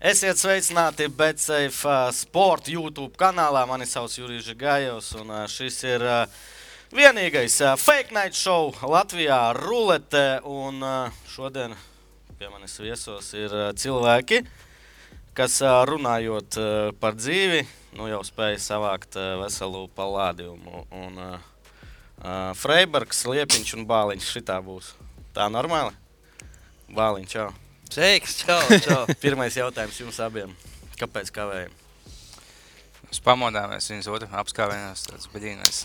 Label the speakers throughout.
Speaker 1: Esiet sveicināti BetSafe uh, Sport YouTube kanālā. Mani sauc Jurijs Gājos, un uh, šis ir uh, vienīgais uh, fake night show Latvijā, rulete. Un uh, šodien pie manis viesos ir uh, cilvēki, kas uh, runājot uh, par dzīvi, nu jau spēja savākt uh, veselu palādījumu. Un uh, uh, Freiburgs, Liepiņš un Bāliņš šitā būs. Tā normāli? Bāliņš, čau!
Speaker 2: Sveiks, čau, čau.
Speaker 1: Pirmais jautājums jums abiem. Kāpēc kavējam?
Speaker 3: Mēs pamodāmies, viņas otru apskāvienās, tāds baļīnās.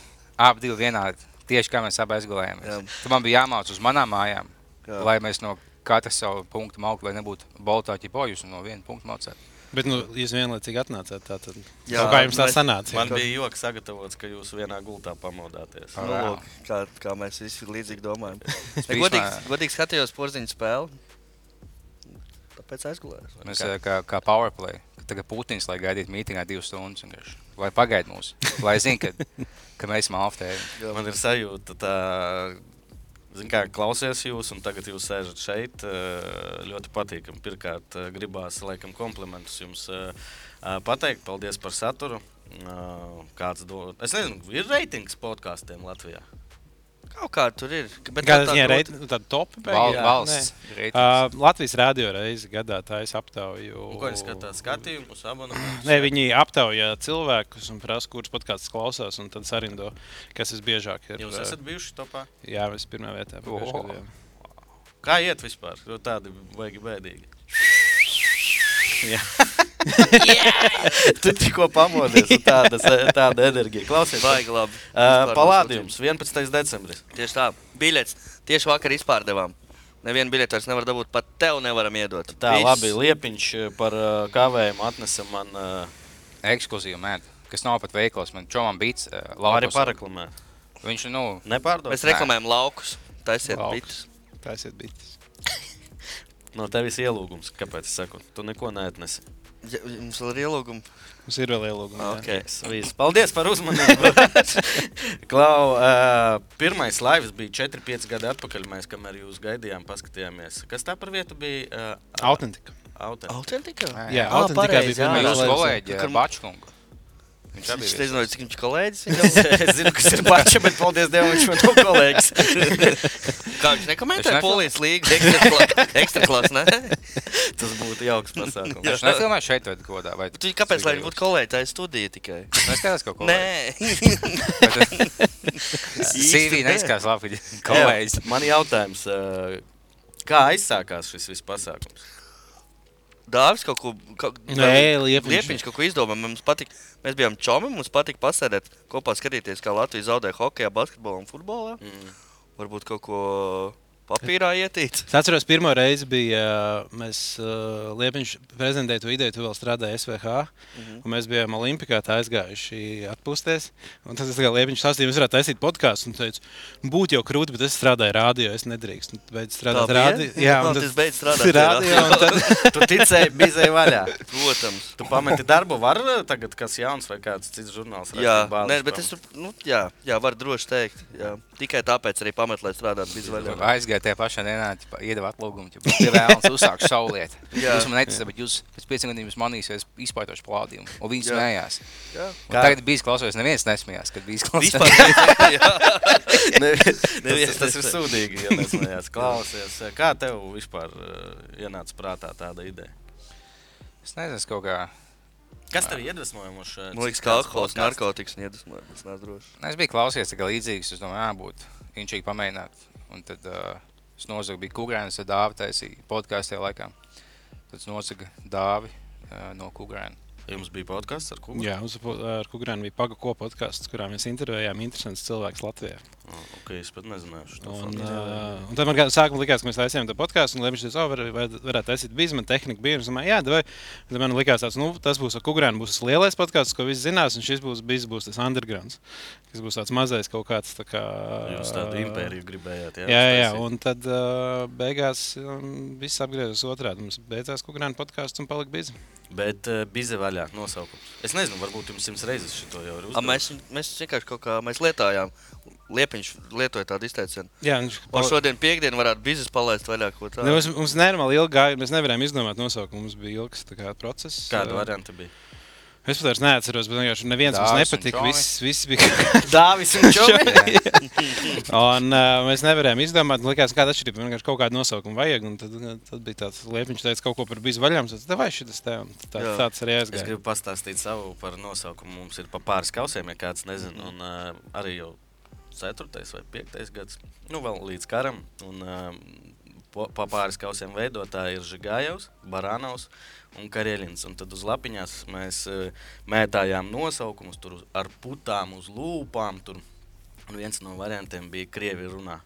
Speaker 3: Abi divi vienādi, tieši kā mēs abi
Speaker 2: Jā.
Speaker 3: aizgulējāmies. Tad man bija jāmāc uz manām mājām,
Speaker 2: Jā.
Speaker 3: Jā. lai mēs no katra savu punktu mauktu, lai nebūtu baltāķi pojus un no viena punkta maucētu.
Speaker 4: Bet nu, jūs vienlaicīgi atnācāt. Tā, tad,
Speaker 2: Jā,
Speaker 4: jā, kā jums tā
Speaker 2: bet
Speaker 4: sanāca?
Speaker 1: Man bija joks sagatavots, ka jūs vienā gultā pamodāties.
Speaker 3: Ah.
Speaker 2: Nu, lūk, kā, kā mēs visi līdzīgi domājam. Es
Speaker 3: biju
Speaker 2: godīgi,
Speaker 3: izmā-
Speaker 2: godīgi skatījos porziņu spēli. Tāpēc aizgulējos. vai
Speaker 3: Mēs
Speaker 2: kā?
Speaker 3: kā, kā, kā powerplay, ka tagad Putins, lai gaidītu mītingā divas stundas, vienkārši. lai pagaid mūs, lai zin, ka, ka mēs esam alftēji.
Speaker 2: Jā.
Speaker 1: Nu, Man ir sajūta, tā, zin kā klausies jūs, un tagad jūs sēžat šeit. eh, Ļoti patīkami. Pirmkārt, eh, gribās laikam komplimentus jums eh, eh, pateikt. Paldies par saturu. Eh, Kāds do... Es nezinu, ir reitings podkāstiem Latvijā.
Speaker 2: Kaut kā tur ir. ka- Bet
Speaker 4: Kāda
Speaker 2: tā
Speaker 4: ziņā
Speaker 2: grūti-
Speaker 4: reit- nu, tāda topā?
Speaker 3: Val, valsts.
Speaker 4: Uh,
Speaker 3: Uh,
Speaker 4: Latvijas rādio reizi gadā taisa aptauju.
Speaker 1: Un Nu, Ko viņi skatās? Skatījumus, abonējumus.
Speaker 4: Nē, viņi aptaujā cilvēkus un prasa, kurš pat kāds klausās, un tad sarindo, kas tas biežāk ir.
Speaker 1: Jūs esat bijuši topā?
Speaker 4: Jā, mēs pirmā vietā. pagājušajā
Speaker 3: O.
Speaker 4: gadā.
Speaker 1: Kā iet vispār? Jo tādi baigi bēdīgi. Jā, tu tikko pamodies. un Tāda, se- tāda enerģija. Klausies,
Speaker 2: Baigi labi.
Speaker 1: Uh,
Speaker 2: Vispār
Speaker 1: Palādījums 11. decembris.
Speaker 2: mums- Tieši tā. Biļets tieši vakar izpārdevām. Nevienu biļeti vairs nevar dabūt, pat tev nevaram iedot.
Speaker 1: Tā
Speaker 2: Viss.
Speaker 1: Viss. labi, liepiņš uh, par uh, kavējumu atnesa man uh,
Speaker 3: Ekskluzīva mēd, kas nav pat veikals, man čomam bīts. Uh,
Speaker 1: arī
Speaker 3: laukos.
Speaker 1: paraklamē.
Speaker 3: Viņš, nu,
Speaker 1: Nepārdod.
Speaker 2: Mēs reklamējam laukus. Taisiet
Speaker 4: Laukus.
Speaker 2: bites.
Speaker 4: Tā esiet bitis.
Speaker 1: No tevis ielūgums, kāpēc es saku, tu neko neatnesi.
Speaker 2: Ja, jums vēl ir ielūgumi?
Speaker 4: Mums ir vēl ielūguma. jā.
Speaker 1: Okay, viss. Paldies par uzmanību. Klau, uh, pirmais laivs bija 4-5 gadi atpakaļ. Mēs kamēr jūs gaidījām, paskatījāmies, kas tā par vietu bija. Uh,
Speaker 4: Autentika.
Speaker 1: Autentika.
Speaker 2: Autentika?
Speaker 3: Nē.
Speaker 4: Jā,
Speaker 2: Ah,
Speaker 4: autentika
Speaker 2: pareizi,
Speaker 4: bija
Speaker 2: jā.
Speaker 3: Vai
Speaker 4: pirmais
Speaker 3: jūsu
Speaker 4: laivs.
Speaker 3: kolēģi, eh,
Speaker 2: Kur-
Speaker 3: Bačkungu. Viņš
Speaker 2: Es
Speaker 3: abi
Speaker 2: nezinu, cik viņš kolēģis ir.
Speaker 1: Es, es zinu, kas ir paša, bet paldies Dievam, viņš man to kolēģis.
Speaker 2: Kā viņš
Speaker 3: Es
Speaker 2: nekomentē
Speaker 3: nesaku.
Speaker 2: polijas līgas ekstra kla- ekstra klases, ne?
Speaker 1: Tas būtu jauks pasākums.
Speaker 3: Viņš nefilmē šeit, vai kādā veidā.
Speaker 2: Tu, kāpēc lai viņi būtu kolēģi? Tā ir studija tikai.
Speaker 3: Es skatos, ka kolēģis.
Speaker 2: Nē,
Speaker 3: CV neizskatās labi. ka Kolēģis.
Speaker 1: Jā, Man jautājums, ā, kā aizsākās šis viss pasākums?
Speaker 2: Dārvis kaut ko. kaut-
Speaker 4: Nē, Liepiņš.
Speaker 2: Liepiņš kaut ko izdomāja. Mums patīk, mēs bijām čomi, mums patīk pasēdēt kopā, skatīties, kā Latvija zaudē hokeja, basketbolā un futbolā.
Speaker 1: Mm.
Speaker 2: Varbūt kaut ko papīrā ietīt.
Speaker 4: Es atceros, pirmo reizi bija, uh, mēs uh, Liepiņš prezentēja to ideju, tu vēl strādāji SVH,
Speaker 2: Mhm.
Speaker 4: un mēs bijām Olimpikā tā aizgājuši atpūsties. Un tad es kā Liepiņš sastīju, mēs varētu taisīt podkāstu, un teicu, būtu jau krūti, bet es strādāju rādio, es nedrīkstu. Un Beidz strādāt
Speaker 2: bija?
Speaker 4: rādio.
Speaker 2: Nu,
Speaker 4: un
Speaker 2: tad es beidu strādāt pie
Speaker 4: rādio.
Speaker 2: radio.
Speaker 4: un tad-
Speaker 1: Tu ticēji, bizēji vaļā.
Speaker 2: Protams.
Speaker 1: Tu pameti darbu, var ā, tagad kas jauns vai kāds cits žurnāls?
Speaker 2: Jā,
Speaker 1: rakstīt bāles
Speaker 2: nē, bet
Speaker 1: prom?
Speaker 2: es tur, nu, jā, jā, var droši teikt. Jā. Tikai tāpēc arī pamet, lai strādātu bezvaļā.
Speaker 3: Aizgāja tajā pašā dienā, ķipa, iedeva atlūgumu. ķipa, Tie vēlams uzsākt savu lietu.
Speaker 2: Jā.
Speaker 3: Jūs man neteicat, bet jūs pēc pieciem gadiem jūs manīsiet izpaietošu plādījumu. Un viņi
Speaker 2: Jā.
Speaker 3: smējās.
Speaker 2: Jā.
Speaker 3: Un
Speaker 1: Kā?
Speaker 3: Tagad bija klausoties, neviens nesmējās, kad bija
Speaker 2: Vispār
Speaker 3: klausoties.
Speaker 2: jā.
Speaker 1: Ne, tas,
Speaker 2: Neviens
Speaker 1: tas ir
Speaker 2: nespēj.
Speaker 1: sūdīgi, ja tas manās klausies. Kā tev vispār ā, ienāca prātā tāda ideja?
Speaker 3: Es nezinu, es kaut kā.
Speaker 1: Kas tev iedvesmoja mums šeit?
Speaker 2: Man Ah. Nu, liekas, ka alkohols, narkotikas un iedvesmojas. Es neesmu drošs.
Speaker 3: Nu, Es biju klausies, ka līdzīgs, es domāju, jā, būtu inčīgi pamēģināt. Un tad uh, es nozagu, bija kukurēns, tad dāvi taisīja podkāstē laikā. Tad es nozagu dāvi uh, no kukurēna.
Speaker 1: Jums bija podkāsts ar kungu?
Speaker 4: Jā, uz, ar Kukrānu bija paga kopu podkāsts, kurā mēs intervējām interesants cilvēks Latvijā.
Speaker 1: Ah, Ok, es pat nezināju. šo
Speaker 4: Un,
Speaker 1: faktu.
Speaker 4: uh, un tad man kā- sākumā likās, ka mēs taisījām to podkāstu, un Lemņš teica, oh, var, var, varētu taisīt bizmenu tehniku. Bija, un es domāju, jā, vai. Tad man likās, tāds, nu, tas būs Kukrāna, būs tas lielais podkāsts, ko visi zinās, un šis būs, bijis, būs tas undergrounds, kas būs tāds mazais kaut kāds. Tā kā,
Speaker 1: Jūs tādu impēriju gribējāt. Jā,
Speaker 4: Jā, jā, jā,
Speaker 1: uztaisīt.
Speaker 4: un tad uh, beigās um, viss apgriezās otrādi. Mums beidzās kukurūzas podkāsts un palika bez.
Speaker 1: Bet uh, bija vaļā nosaukums. Es nezinu, varbūt jums simts reizes šo jau ir
Speaker 2: A,
Speaker 1: uzdevums.
Speaker 2: mēs, mēs vienkārši kaut kā mēs lietojām. Liepiņš lietoja tādu izteicienu.
Speaker 4: Jā, viņš
Speaker 2: O, šodien piekdien varētu biznesa palaist vaļā, ko tā.
Speaker 4: Nu, mums, mums nenormāli ilgi gāja, mēs nevarējām izdomāt nosaukumu. Mums bija ilgs tā kā, process.
Speaker 1: Kāda
Speaker 4: Uh,
Speaker 1: varianta bija?
Speaker 4: Es pat vairs neatceros, bet vienkārši neviens mums
Speaker 3: Dāvis un
Speaker 4: nepatika.
Speaker 3: Čomi.
Speaker 4: Viss, viss bija
Speaker 1: Dāvis un Čomi.
Speaker 4: Un, uh, mēs nevarējām izdomāt, nu, likās, kāda atšķirība. Vienkārši kaut kādu nosaukumu vajag. un Tad, uh, tad bija tāds liepiņš, teica kaut ko par bijusi vaļām. Tad vai šis te tā,
Speaker 2: Jā.
Speaker 4: tāds arī
Speaker 1: Es
Speaker 4: aizgāja.
Speaker 1: gribu pastāstīt savu par nosaukumu. Mums ir pa pāris kausiem, ja kāds nezina. Un, uh, arī jau 4. vai 5. gads, nu vēl līdz karam. Un, uh, Pa pāris kausiem veidotāji ir Žigājovs, Baranovs un Karelins. Un tad uz lapiņās mēs eh, mētājām nosaukumus tur uz- ar putām, uz lūpām. Tur. Un viens no variantiem bija Krievi runā.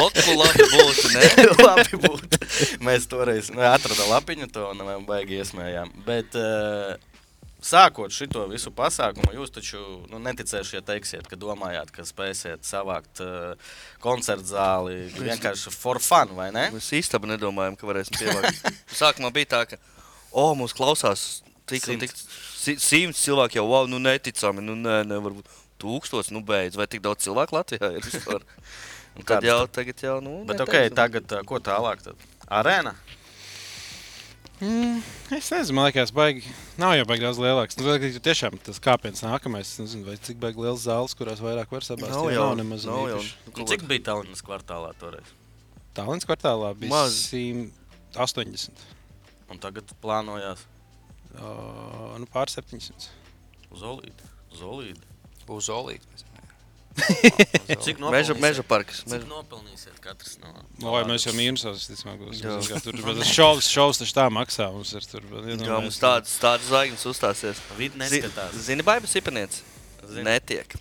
Speaker 2: Loku labi būtu, ne?
Speaker 1: labi būtu. Mēs toreiz nu, atradām lapiņu, to un mēs baigi iesmējām. Bet, eh, Sākot šo visu pasākumu, jūs taču nu, neticēsiet, ja teiksiet, ka domājāt, ka spēsiet savākt uh, koncertu zāli vienkārši for fun, vai ne?
Speaker 2: Mēs īstenībā nedomājām, ka varēsim pievākt. Sākumā bija tā, ka, oh, mums klausās tik un tik si- simts cilvēki jau, wow, nu neticami, nu nē, nevar būt. Tūkstots, nu beidz, vai tik daudz cilvēku Latvijā ir vispār? Un Nu, Tad
Speaker 1: Kāds
Speaker 2: jau, tagad jau, nu.
Speaker 1: Bet,
Speaker 2: neticami.
Speaker 1: ok, tagad eh, ko tālāk? Tad? Arēna.
Speaker 4: Mm, es nezinu, man liekas, baigi. Nav jau baigi daudz lielāks. Nu, tagad ir tiešām tas kāpiens nākamais. Es nezinu, vai cik baigi liels zāles, kurās vairāk var sabāzt.
Speaker 2: Nav
Speaker 4: tie
Speaker 2: jau,
Speaker 4: nemaz
Speaker 2: nav jau.
Speaker 4: īpaši.
Speaker 1: Nu, cik bija Tallinas kvartālā toreiz?
Speaker 4: Tallinas kvartālā bija
Speaker 2: Maz.
Speaker 4: 180.
Speaker 1: Un tagad plānojās
Speaker 4: Uh, nu, pār 700.
Speaker 1: Zolīti. Zolīti.
Speaker 3: Uz olīti.
Speaker 1: Cik
Speaker 2: Meža, meža parks.
Speaker 1: Cik
Speaker 2: Meža.
Speaker 1: nopelnīsiet katrs no?
Speaker 4: No, vai mēs jau mīnusos, tas mākos.
Speaker 2: Jā.
Speaker 4: Tur bet tas šovs, šovs taču tā maksā. Mums ir tur. bet, nu,
Speaker 2: Jā,
Speaker 4: mēs-
Speaker 2: mums tāds, tāds zvaigznes uzstāsies.
Speaker 1: Vidi
Speaker 2: Zi-
Speaker 1: neskatās.
Speaker 2: Zini, baigas sipeniec?
Speaker 1: Zinu.
Speaker 2: Netiek.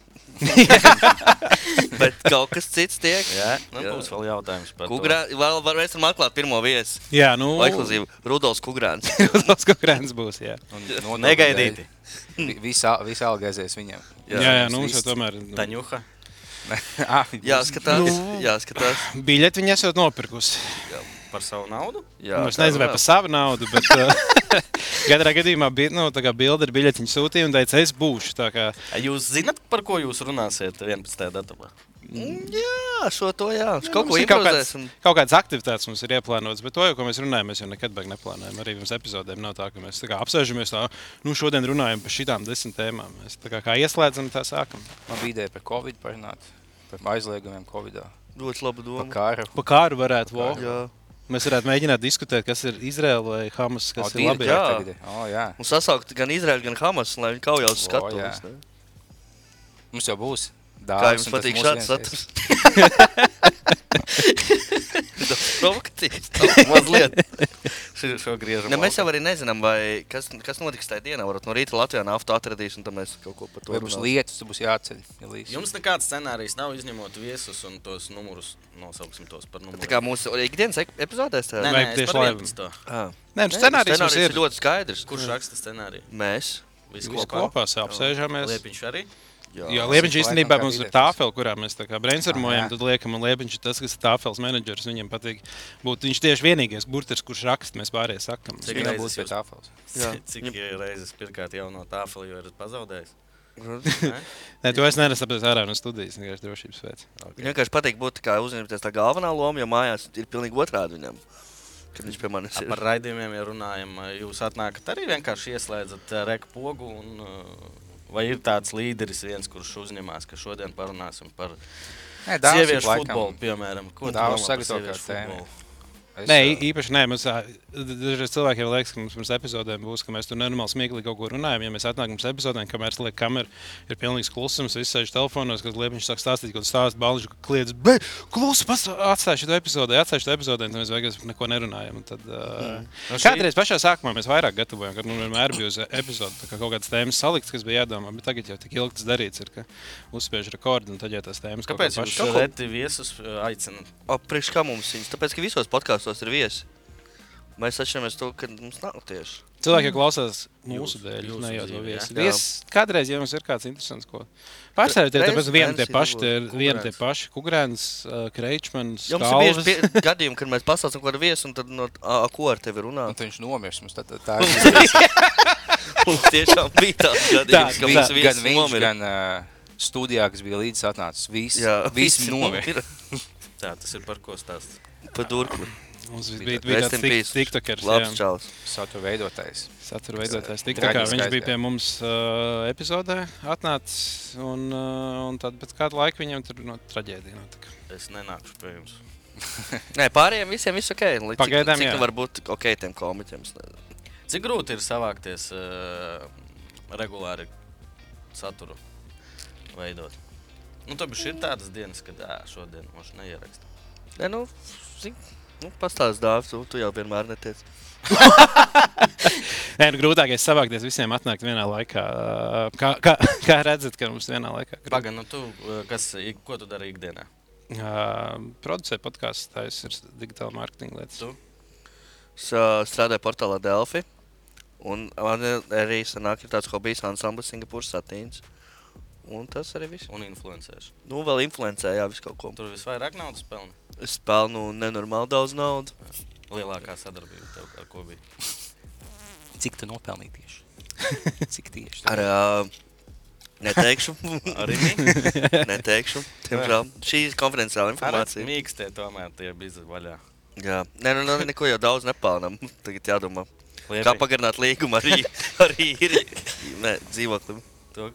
Speaker 2: Bet kaut kas cits tiek.
Speaker 1: Jā, nu, būs vēl jautājums par to.
Speaker 2: Kugrā, vēl varēsim atklāt pirmo viesu.
Speaker 4: Jā, nu.
Speaker 2: Ekskluzīvi Rudolfs Kungrāns.
Speaker 4: Tas konkurents būs. Jā,
Speaker 1: Negaidīti.
Speaker 3: Visā alga aizies viņam.
Speaker 4: jā, jā, jā nu, mums jau tomēr. Nu,
Speaker 1: Taņuha.
Speaker 3: Ah,
Speaker 2: Jāskatās,
Speaker 4: Nu.
Speaker 2: jāskatās.
Speaker 4: biļeti viņi esat nopirkusi.
Speaker 1: Par savu naudu?
Speaker 2: Jā,
Speaker 4: Jā, nu, es nezinu, vai par savu naudu, bet uh, katrā gadījumā bija nu, tā kā bilde ar biļeti viņa sūtīja un teica, es būšu. tā Kā,
Speaker 1: Jūs zināt, par ko jūs runāsiet 11. datumā?
Speaker 2: Jā, šo to jā. jā
Speaker 4: nu,
Speaker 2: kaut
Speaker 4: mums
Speaker 2: ko
Speaker 4: ir kaut kāds-
Speaker 2: improvizēsim.
Speaker 4: Kaut kādas aktivitātes mums ir ieplānotas, bet to, jau, ko mēs runājam, mēs jau nekad baigi neplānojam. Arī pirms epizodēm nav tā, ka mēs tā kā apsēžamies tā, nu šodien runājam par šitām desmit tēmām. Mēs tā kā, kā ieslēdzam, tā sākam.
Speaker 3: Man bija ideja par Covid parunāt, par aizliegumiem Covid,
Speaker 2: Ļoti laba
Speaker 3: par
Speaker 2: doma.
Speaker 3: kāru.
Speaker 4: Pa kāru varētu būt.
Speaker 2: Jā.
Speaker 4: Mēs varētu mēģināt diskutēt, kas ir Izraela vai Hamas, kas
Speaker 3: O,
Speaker 4: ir
Speaker 3: tīri
Speaker 4: labi.
Speaker 2: jā.
Speaker 3: kārtīgi ideja. O, jā.
Speaker 2: Un sasaukt gan Izraēlu, gan Hamas, lai viņi kaujās uz
Speaker 3: O,
Speaker 2: skatuves.
Speaker 3: jā.
Speaker 2: ne?
Speaker 3: Mums jau būs.
Speaker 2: Kā
Speaker 3: Dāvis
Speaker 2: jums
Speaker 3: un tas
Speaker 2: patīk
Speaker 3: mūsu
Speaker 2: šāds
Speaker 3: viens-
Speaker 2: saturs? Daudz Provokatīvs. daudz Mazliet.
Speaker 1: Šo, šo griežam.
Speaker 2: Ne, mēs jau arī nezinām, vai, kas, kas notiks tajā dienā. Varbūt no rīta Latvijā naftu atradīs, un tad mēs kaut ko par to
Speaker 3: Vai būs
Speaker 2: runāsim.
Speaker 3: lietas, tad būs jāceļ. ja līdz-
Speaker 1: Jums nekāds scenārijs nav izņemot viesus un tos numurus. Nosauksim tos par
Speaker 2: Tā kā
Speaker 1: numuriem.
Speaker 2: mūsu ikdienas ek- epizodēs tā
Speaker 1: Nē,
Speaker 4: Vai
Speaker 1: nē, es
Speaker 4: tieši
Speaker 1: par
Speaker 4: laivā?
Speaker 1: 11.
Speaker 2: Ah.
Speaker 4: Nē, nu, scenārijs mums
Speaker 2: scenārijs
Speaker 4: ir
Speaker 2: ir ļoti skaidrs.
Speaker 1: Kurš raksta scenāriju?
Speaker 2: Mēs.
Speaker 1: Visi
Speaker 4: Visi
Speaker 1: kopā.
Speaker 4: kopā sā- apsēžamies.
Speaker 1: Liepiņš arī.
Speaker 4: Jā, Liepiņš
Speaker 3: Laikam
Speaker 4: īstenībā
Speaker 3: kā
Speaker 4: mums ir
Speaker 3: biļetes.
Speaker 4: tāfeli, kurā mēs tā kā brainstormojam.
Speaker 3: Aha.
Speaker 4: Tad liekam, un Liepiņš ir tas, kas ir tāfels menedžers. Viņam patīk būt viņš tieši vienīgais burtis, kurš raksta. Mēs pārējie sakam.
Speaker 1: Cik
Speaker 3: Viņam
Speaker 1: reizes
Speaker 3: būs pie
Speaker 1: jūs-
Speaker 3: tāfeles.
Speaker 2: Jā.
Speaker 1: Cik reizes pirkāt jauno tāfeli, jo esat pazaudējis?
Speaker 2: Mhm.
Speaker 4: Nē, to es neesmu saprast ārā no studijas, vienkārši drošības pēc.
Speaker 2: Viņam vienkārši patīk būt tā kā uzņemties tā galvenā loma, jo mājās ir pilnīgi otrādi viņam. Kad viņš pie manis
Speaker 1: A,
Speaker 2: ir.
Speaker 1: Par raidījumiem ja runājam. Jūs atnākat arī vienkārši ieslēdzat reku pogu. Un, uh, vai ir tāds līderis, viens, kurš uzņemās, ka šodien parunāsim par
Speaker 3: Nē, Dāvis ir
Speaker 1: sieviešu
Speaker 3: laikam-
Speaker 1: futbolu, piemēram? Ko tu domā
Speaker 3: Dāvis
Speaker 1: par
Speaker 3: sagatavo
Speaker 1: sieviešu
Speaker 3: kādu tēmu.
Speaker 1: futbolu?
Speaker 3: Es,
Speaker 4: Nē,
Speaker 3: ā,
Speaker 4: ī- īpaši nē, mums ā, d- dažreiz cilvēkiem liekas, ka mums pirms epizodēm būs, ka mēs tur nenormāli smieklīgi kaut ko runājam. Ja mēs atnākam uz epizodēm, kamēr slēdz kamera, ir pilnīgs klusums, viss sēž telefonos, kad liepiņš sāk stāstīt, kaut kāds stāsts, balniņš kliedz, bet klusu, pas- atstāj šo epizodē, atstāj šo epizodē, tad mēs vairs neko nerunājam. Un Tad, uh,
Speaker 1: Nu, šī-
Speaker 4: kādreiz pašā sākumā mēs vairāk gatavojām, kad nu, vienmēr bija uz epizodu tā kā kaut kādas tēmas salikts, kas bija jādomā, bet tagad jau tik ilgi tas darīts ir, ka uzspiež rekordu un tad jau tās tēmas kaut
Speaker 1: Kāpēc jūs
Speaker 4: kā pašas-
Speaker 2: Kaut ko-
Speaker 1: reti viesus uh, aicināt?
Speaker 2: O, Priekš kā mums viņas? Tāpēc, ka visos podkāstos ir viesi. Mēs atšķiramies to, ka mums nav tieši.
Speaker 4: Cilvēki jau klausās mūsu dēļ,
Speaker 1: jūsu
Speaker 4: ne jau to
Speaker 1: dzīvi,
Speaker 4: viesu.
Speaker 2: jā?
Speaker 4: Viesis Kādreiz, ja mums ir kāds interesants, ko pārstāvjat,
Speaker 2: Reiz
Speaker 4: tad mēs vienam tie
Speaker 2: mēnesī
Speaker 4: paši, tie ir
Speaker 2: varbūt
Speaker 4: vieni tie
Speaker 2: Kugrēns.
Speaker 4: paši, Kugrēns, uh, Kreičmans,
Speaker 2: Jums ir
Speaker 4: Kalvis.
Speaker 2: bieži pie, gadījumi, kad mēs pasaucam kaut kādu viesu, un tad no a, a, ko ar tevi runā.
Speaker 3: Un tad Nu, viņš nomirs. Mums tā, tā, tā ir
Speaker 2: Mums tiešām bija tāds gadījums,
Speaker 4: Tā,
Speaker 2: ka
Speaker 4: bija
Speaker 2: viens
Speaker 3: gan
Speaker 2: viesis
Speaker 3: viņš,
Speaker 2: nomira.
Speaker 3: gan, ā, studijā, kas bija līdzi atnācis. Viss,
Speaker 2: Jā,
Speaker 3: viss nomira.
Speaker 1: Tā tas ir par ko stāstīt.
Speaker 2: Pa durkli.
Speaker 4: Mums bija,
Speaker 3: Bija
Speaker 4: bija
Speaker 2: Rest in
Speaker 4: tāds
Speaker 2: peace.
Speaker 4: tiktokers,
Speaker 2: Labs
Speaker 4: jā.
Speaker 2: čalis.
Speaker 3: Satura veidotājs.
Speaker 4: satura veidotājs. Tik tā kā
Speaker 3: Traģiskais,
Speaker 4: viņš bija
Speaker 3: jā.
Speaker 4: pie mums uh, epizodē, atnācis un, uh, un tad pēc kāda laika viņam tur no traģēdija notika.
Speaker 1: Es nenāku pie jums.
Speaker 2: Nē, pārējiem visiem viss ok. Līdz
Speaker 4: Pagaidām,
Speaker 2: cik,
Speaker 4: jā.
Speaker 2: cik var būt ok tiem komiķiem. es nezinu.
Speaker 1: Cik grūti ir savākties uh, regulāri saturu veidot? Nu, tev ir tādas dienas, kad ā, šodien mums neieraksta.
Speaker 2: Nē, nu, zin, nu pastāst dāvis, tu, tu jau vienmēr netiec.
Speaker 4: Nē, nu, grūtākais savākties visiem atnākt vienā laikā. Uh, kā, kā, kā redzat, ka mums vienā laikā grūti
Speaker 1: Pagaidām, nu, tu, ā, kas, ik- ko tu dari ikdienā?
Speaker 4: uh, producē podkāstus, tas ir digitāla mārketinga lietas.
Speaker 1: Tu?
Speaker 2: Es ā, strādāju portālā Delphi. Un man ir arī sanāk, ir tāds hobijs, ansamblis Singapūras satīns. Un tas arī viss.
Speaker 1: Un influencēšu.
Speaker 2: Nu, vēl influencē, jā, visu kaut ko.
Speaker 1: Tur visvairāk naudas pelni.
Speaker 2: Es pelnu nenormāli daudz naudas.
Speaker 1: Lielākā sadarbība tev ar ko bija.
Speaker 3: Cik tu nopelnīji tieši? Cik tieši?
Speaker 2: Ar, ā, neteikšu. arī neteikšu. Tiemžēl. Šī ir konferenciāla informācija.
Speaker 1: Mīkstē tomēr tie bija vaļā.
Speaker 2: Jā, nē, nu, nu, neko jau daudz nepelnām. Tagad jādomā,
Speaker 1: Liepi.
Speaker 2: kā pagarināt līgumu arī, arī ir. Nē, dzīvoklim.
Speaker 1: To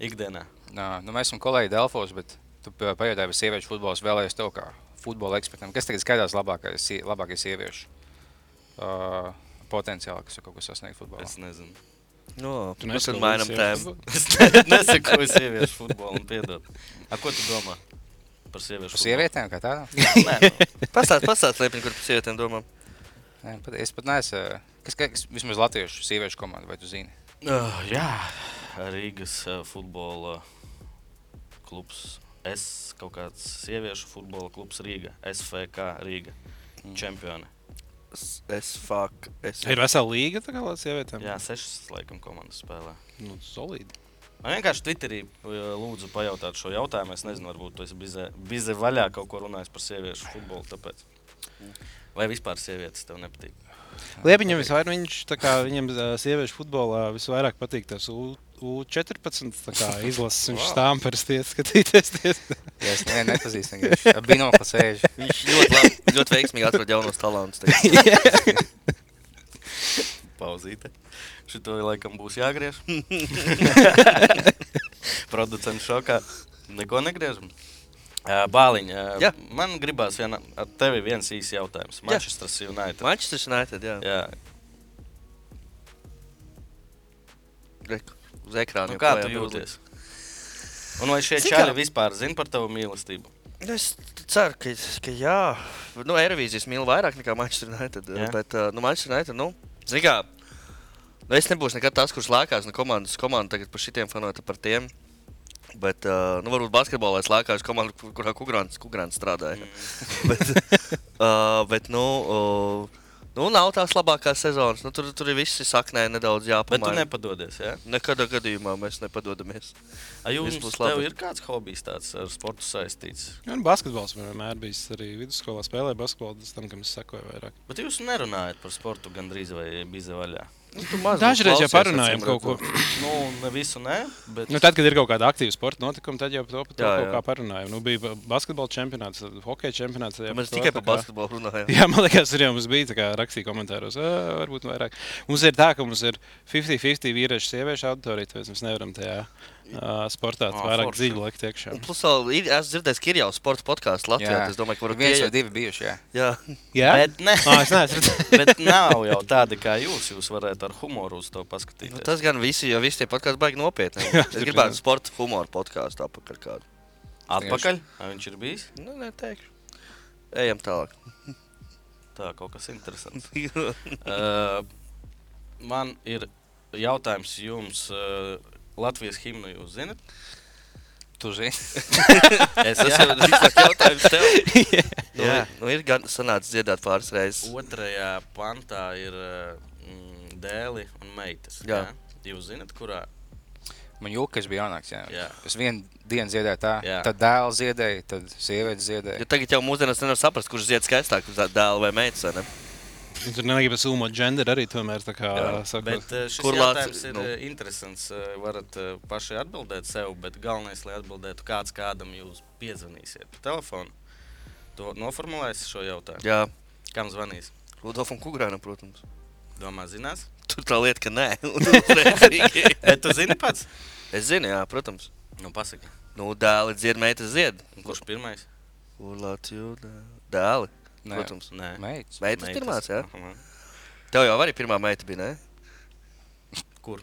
Speaker 1: ikdienā.
Speaker 3: Nā, nu mēs esam kolēģi Delfos, bet tu pa- pajautāji, vai sieviešu futbols vēlējies tev kā futbola ekspertam. Kas tagad skaidrs labākais, sie- labākais sieviešu uh, potenciāli, kas ir kaut ko sasniegt futbolā?
Speaker 1: Es nezinu.
Speaker 2: No,
Speaker 4: Tu
Speaker 2: mēs
Speaker 4: neesi
Speaker 2: tad mainām
Speaker 4: sievietes
Speaker 2: tēmu.
Speaker 4: futbolu?
Speaker 1: Es ne- nesaku sieviešu futbolu un piedod. A, ko tu domā par sieviešu
Speaker 3: Par sievietēm kā tādām?
Speaker 1: futbolu? Nē, nu,
Speaker 2: Pastāst, pastāst, liepni, kur par sievietēm domā.
Speaker 3: Nē, pat- Es pat neesmu. eh, Kas, kas vismaz latviešu sieviešu komanda, vai tu zini?
Speaker 1: Uh, jā, Rīgas uh, futbola klubs. Es kaut kāds sieviešu futbola klubs Rīga. SFK Rīga. Mm. Čempioni.
Speaker 2: Es, es fuck. Es...
Speaker 4: Ir vesela līga tā kā lai sievietēm.
Speaker 1: Jā, sešas laikam komandas spēlē.
Speaker 4: nu, solīdi.
Speaker 1: Man vienkārši Twitterī uh, lūdzu pajautāt šo jautājumu. Es nezinu, varbūt tu esi bize, bize vaļā kaut ko runājis par sieviešu futbolu. Tāpēc. Vai vispār sievietes tev nepatīk?
Speaker 4: Liepiņam visvairāk, viņš tā kā viņam ā, sieviešu futbolā visvairāk patīk tas U- U14 tā kā izlases. Viņš
Speaker 3: Wow.
Speaker 4: stāv parasti iet skatīties. tiesa.
Speaker 3: Jā, es nevienu nepazīstu. vienkārši. Ar Binokli sēž.
Speaker 2: Viņš ļoti, labi, ļoti veiksmīgi atrod jaunos talantus. tagad.
Speaker 1: Pauzīte. Šito laikam būs jāgriež. Producents šokā. Neko negriežam. Ā, Bāliņ, ā,
Speaker 2: Jā.
Speaker 1: man gribās viena, ar tevi viens īsts jautājums.
Speaker 2: Jā.
Speaker 1: Manchester United.
Speaker 2: Manchester United, jā.
Speaker 1: Jā.
Speaker 2: Re, Uz ekrāna.
Speaker 1: Nu,
Speaker 2: jau
Speaker 1: kā
Speaker 2: klajā
Speaker 1: tu
Speaker 2: bildi.
Speaker 1: jūties? Un vai šie
Speaker 2: Zini kā?
Speaker 1: čaļi vispār zina par tavu mīlestību?
Speaker 2: Nu, Es ceru, ka, ka jā. Nu, Eirovīzijas mīlu vairāk nekā Manchester United.
Speaker 1: Jā.
Speaker 2: Jā. Bet, ā, nu, Manchester United, nu, zini kā, nu, es nebūšu nekad tas, kurš lēkās no komandas komandas tagad par šitiem fanotiem, par tiem. Bet, ā, nu, varbūt basketbolā es lēkāju uz komandu, kur- kurā Kugrāns, Kugrāns strādāja.
Speaker 4: Mm.
Speaker 2: bet, uh, bet, nu, uh, nu, nav tās labākās sezonas. Nu, tur, tur ir visi saknē nedaudz
Speaker 1: Bet tu
Speaker 2: jāpamaina.
Speaker 1: nepadodies. Ja?
Speaker 2: Nekādā gadījumā mēs nepadodamies.
Speaker 1: Ai, jums
Speaker 2: Viss būs
Speaker 1: tev
Speaker 2: labi.
Speaker 1: ir kāds hobijs tāds ar sportu saistīts?
Speaker 4: Un basketbols man vienmēr bijis arī vidusskolā spēlēja basketbolu, tas tam, kam es sekoju vairāk.
Speaker 1: Bet jūs nerunājat par sportu gandrīz vai bize vaļā.
Speaker 2: Nu, tu maz
Speaker 4: Dažreiz
Speaker 2: mums
Speaker 4: jau
Speaker 2: klausies,
Speaker 4: parunājam
Speaker 2: acīm
Speaker 4: kaut ko.
Speaker 2: redzot.
Speaker 1: Nu, ne visu nē, bet
Speaker 4: Nu, tad, kad ir kaut kāda aktīva sporta notikuma, tad jau par to, par to
Speaker 2: Jā,
Speaker 4: kaut
Speaker 2: jā.
Speaker 4: kā parunājam. Nu, bija ba- basketbola čempionāts, tad hokeja čempionāts. tad jau
Speaker 2: Mēs
Speaker 4: to
Speaker 2: tikai
Speaker 4: tā
Speaker 2: par
Speaker 4: kā-
Speaker 2: basketbolu runājam.
Speaker 4: Jā, man liekas, arī mums bija tā kā rakstīja komentāros, "Ā, varbūt vairāk. Mums ir tā, ka mums ir 50-50 vīriešu sieviešu auditorija, tāpēc mēs nevaram tajā uh, sportā
Speaker 1: Ā,
Speaker 4: vairāk
Speaker 1: forši.
Speaker 4: dziļi likt
Speaker 2: Un
Speaker 4: iekšā.
Speaker 2: Plus, vēl ir- esmu dzirdējis, ka ir jau sports podkāsts Latvijā. tad Es domāju, ka varbūt
Speaker 3: viens vai
Speaker 2: pieejam.
Speaker 3: divi bijuši. Jā.
Speaker 2: Jā,
Speaker 4: Jā,
Speaker 1: Bet nē.
Speaker 4: Ā, es neesmu.
Speaker 1: Bet nav jau tādi kā jūs. Jūs varētu ar humoru uz to
Speaker 2: nu,
Speaker 1: paskatīties.
Speaker 2: tas gan visi, jo visi tie podkāsti baigi nopietni. es
Speaker 4: tur
Speaker 2: gribētu
Speaker 4: jā.
Speaker 2: sporta humoru podkāstu apakaļ kādu.
Speaker 1: Atpakaļ. Vai viņš ir bijis?
Speaker 2: Nu, neteikšu. Ejam tālāk. Nu,
Speaker 1: Tā kaut kas interesants. uh, man ir jautājums jums. Uh, Latvijas himnu jūs zinat?
Speaker 3: Tu zini,
Speaker 1: Es
Speaker 2: Tas
Speaker 1: jau
Speaker 2: jau ir drīzāk jautājums tev. Nu,
Speaker 1: Jā.
Speaker 2: nu, ir gan sanācis dziedāt pāris reizes.
Speaker 1: otrajā pantā ir uh, mm, dēli un meitas.
Speaker 2: Jā.
Speaker 1: jā? Jūs zinat, kurā?
Speaker 3: man jūka, kas bija jānāks. Jā.
Speaker 1: Jā.
Speaker 3: Es vienu dienu ziedēju tā,
Speaker 1: Jā.
Speaker 3: jā. tad dēls ziedēja, tad sieviete ziedēja.
Speaker 2: Jo tagad jau mūsdienās nevar saprast, kurš zied skaistāk, kurš dēls vai meitas. vai ne?
Speaker 4: Nu, Tur negribas ulmot ģenderu arī tomēr. tā Kā,
Speaker 2: Jā,
Speaker 4: sakot.
Speaker 1: Bet eh, šis
Speaker 2: Kur
Speaker 1: Kur
Speaker 2: Lācis-
Speaker 1: jautājums ir
Speaker 2: nu.
Speaker 1: nu. interesants. eh, Varat eh, paši atbildēt sev, bet galvenais, lai atbildētu kāds kādam, jūs piezvanīsiet pa telefonu. To noformulēs šo jautājumu.
Speaker 2: Jā,
Speaker 1: Kam zvanīs?
Speaker 2: Rudolfam Kungrānam, protams.
Speaker 1: Domā, zinās?
Speaker 2: Tur tā lieta, ka nē. Un uzreizīgi.
Speaker 1: E, tu zini pats?
Speaker 2: es zinu, jā, protams.
Speaker 1: Nu, pasaki.
Speaker 2: Nu, dēli dzied, meita zied.
Speaker 1: Un Kurš pirmais?
Speaker 2: Kur Latviju dēli?
Speaker 3: Nē.
Speaker 2: Protams.
Speaker 1: Nē.
Speaker 3: Meitas.
Speaker 2: Meitas
Speaker 1: Meitas.
Speaker 2: pirmās, jā?
Speaker 1: Aha.
Speaker 2: Tev jau arī pirmā meita bija, ne?
Speaker 1: Kur?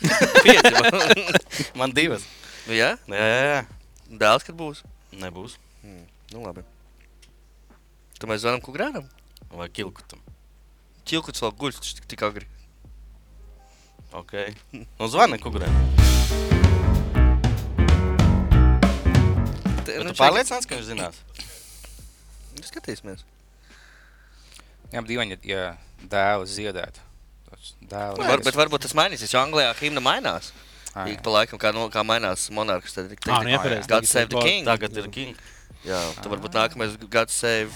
Speaker 2: Pieci. man.
Speaker 1: Man divas.
Speaker 2: nu, jā?
Speaker 1: Jā, jā, jā.
Speaker 2: Dēls, kad būs?
Speaker 1: Nebūs.
Speaker 2: Nu, labi. Tad mēs zvanām Kungrānam.
Speaker 1: Vai kilkutam?
Speaker 2: Čilkuts vēl guļš, taču tik, tik agri.
Speaker 1: Ok. Nu, zvani kukurēm.
Speaker 2: Te-
Speaker 1: Nu,
Speaker 2: nu,
Speaker 1: tu
Speaker 2: čekaj.
Speaker 1: pārliecināts, ka viņš zinās?
Speaker 2: Nu, Skatīsimies.
Speaker 3: Jā, bet dīvaini, ja dēls ziedētu. Tas dēls.
Speaker 2: Var, bet varbūt tas mainīsies, jo Anglijā himna mainās.
Speaker 3: Ai.
Speaker 2: Ik pa laikam, kā, no, kā mainās monarhs, tad ir
Speaker 4: Ā, nu, iepareiz,
Speaker 2: God
Speaker 4: tagad
Speaker 2: save
Speaker 4: ir
Speaker 2: the
Speaker 4: Bor-
Speaker 2: king.
Speaker 1: Tagad ir king.
Speaker 2: Jā, tad varbūt nākamais God save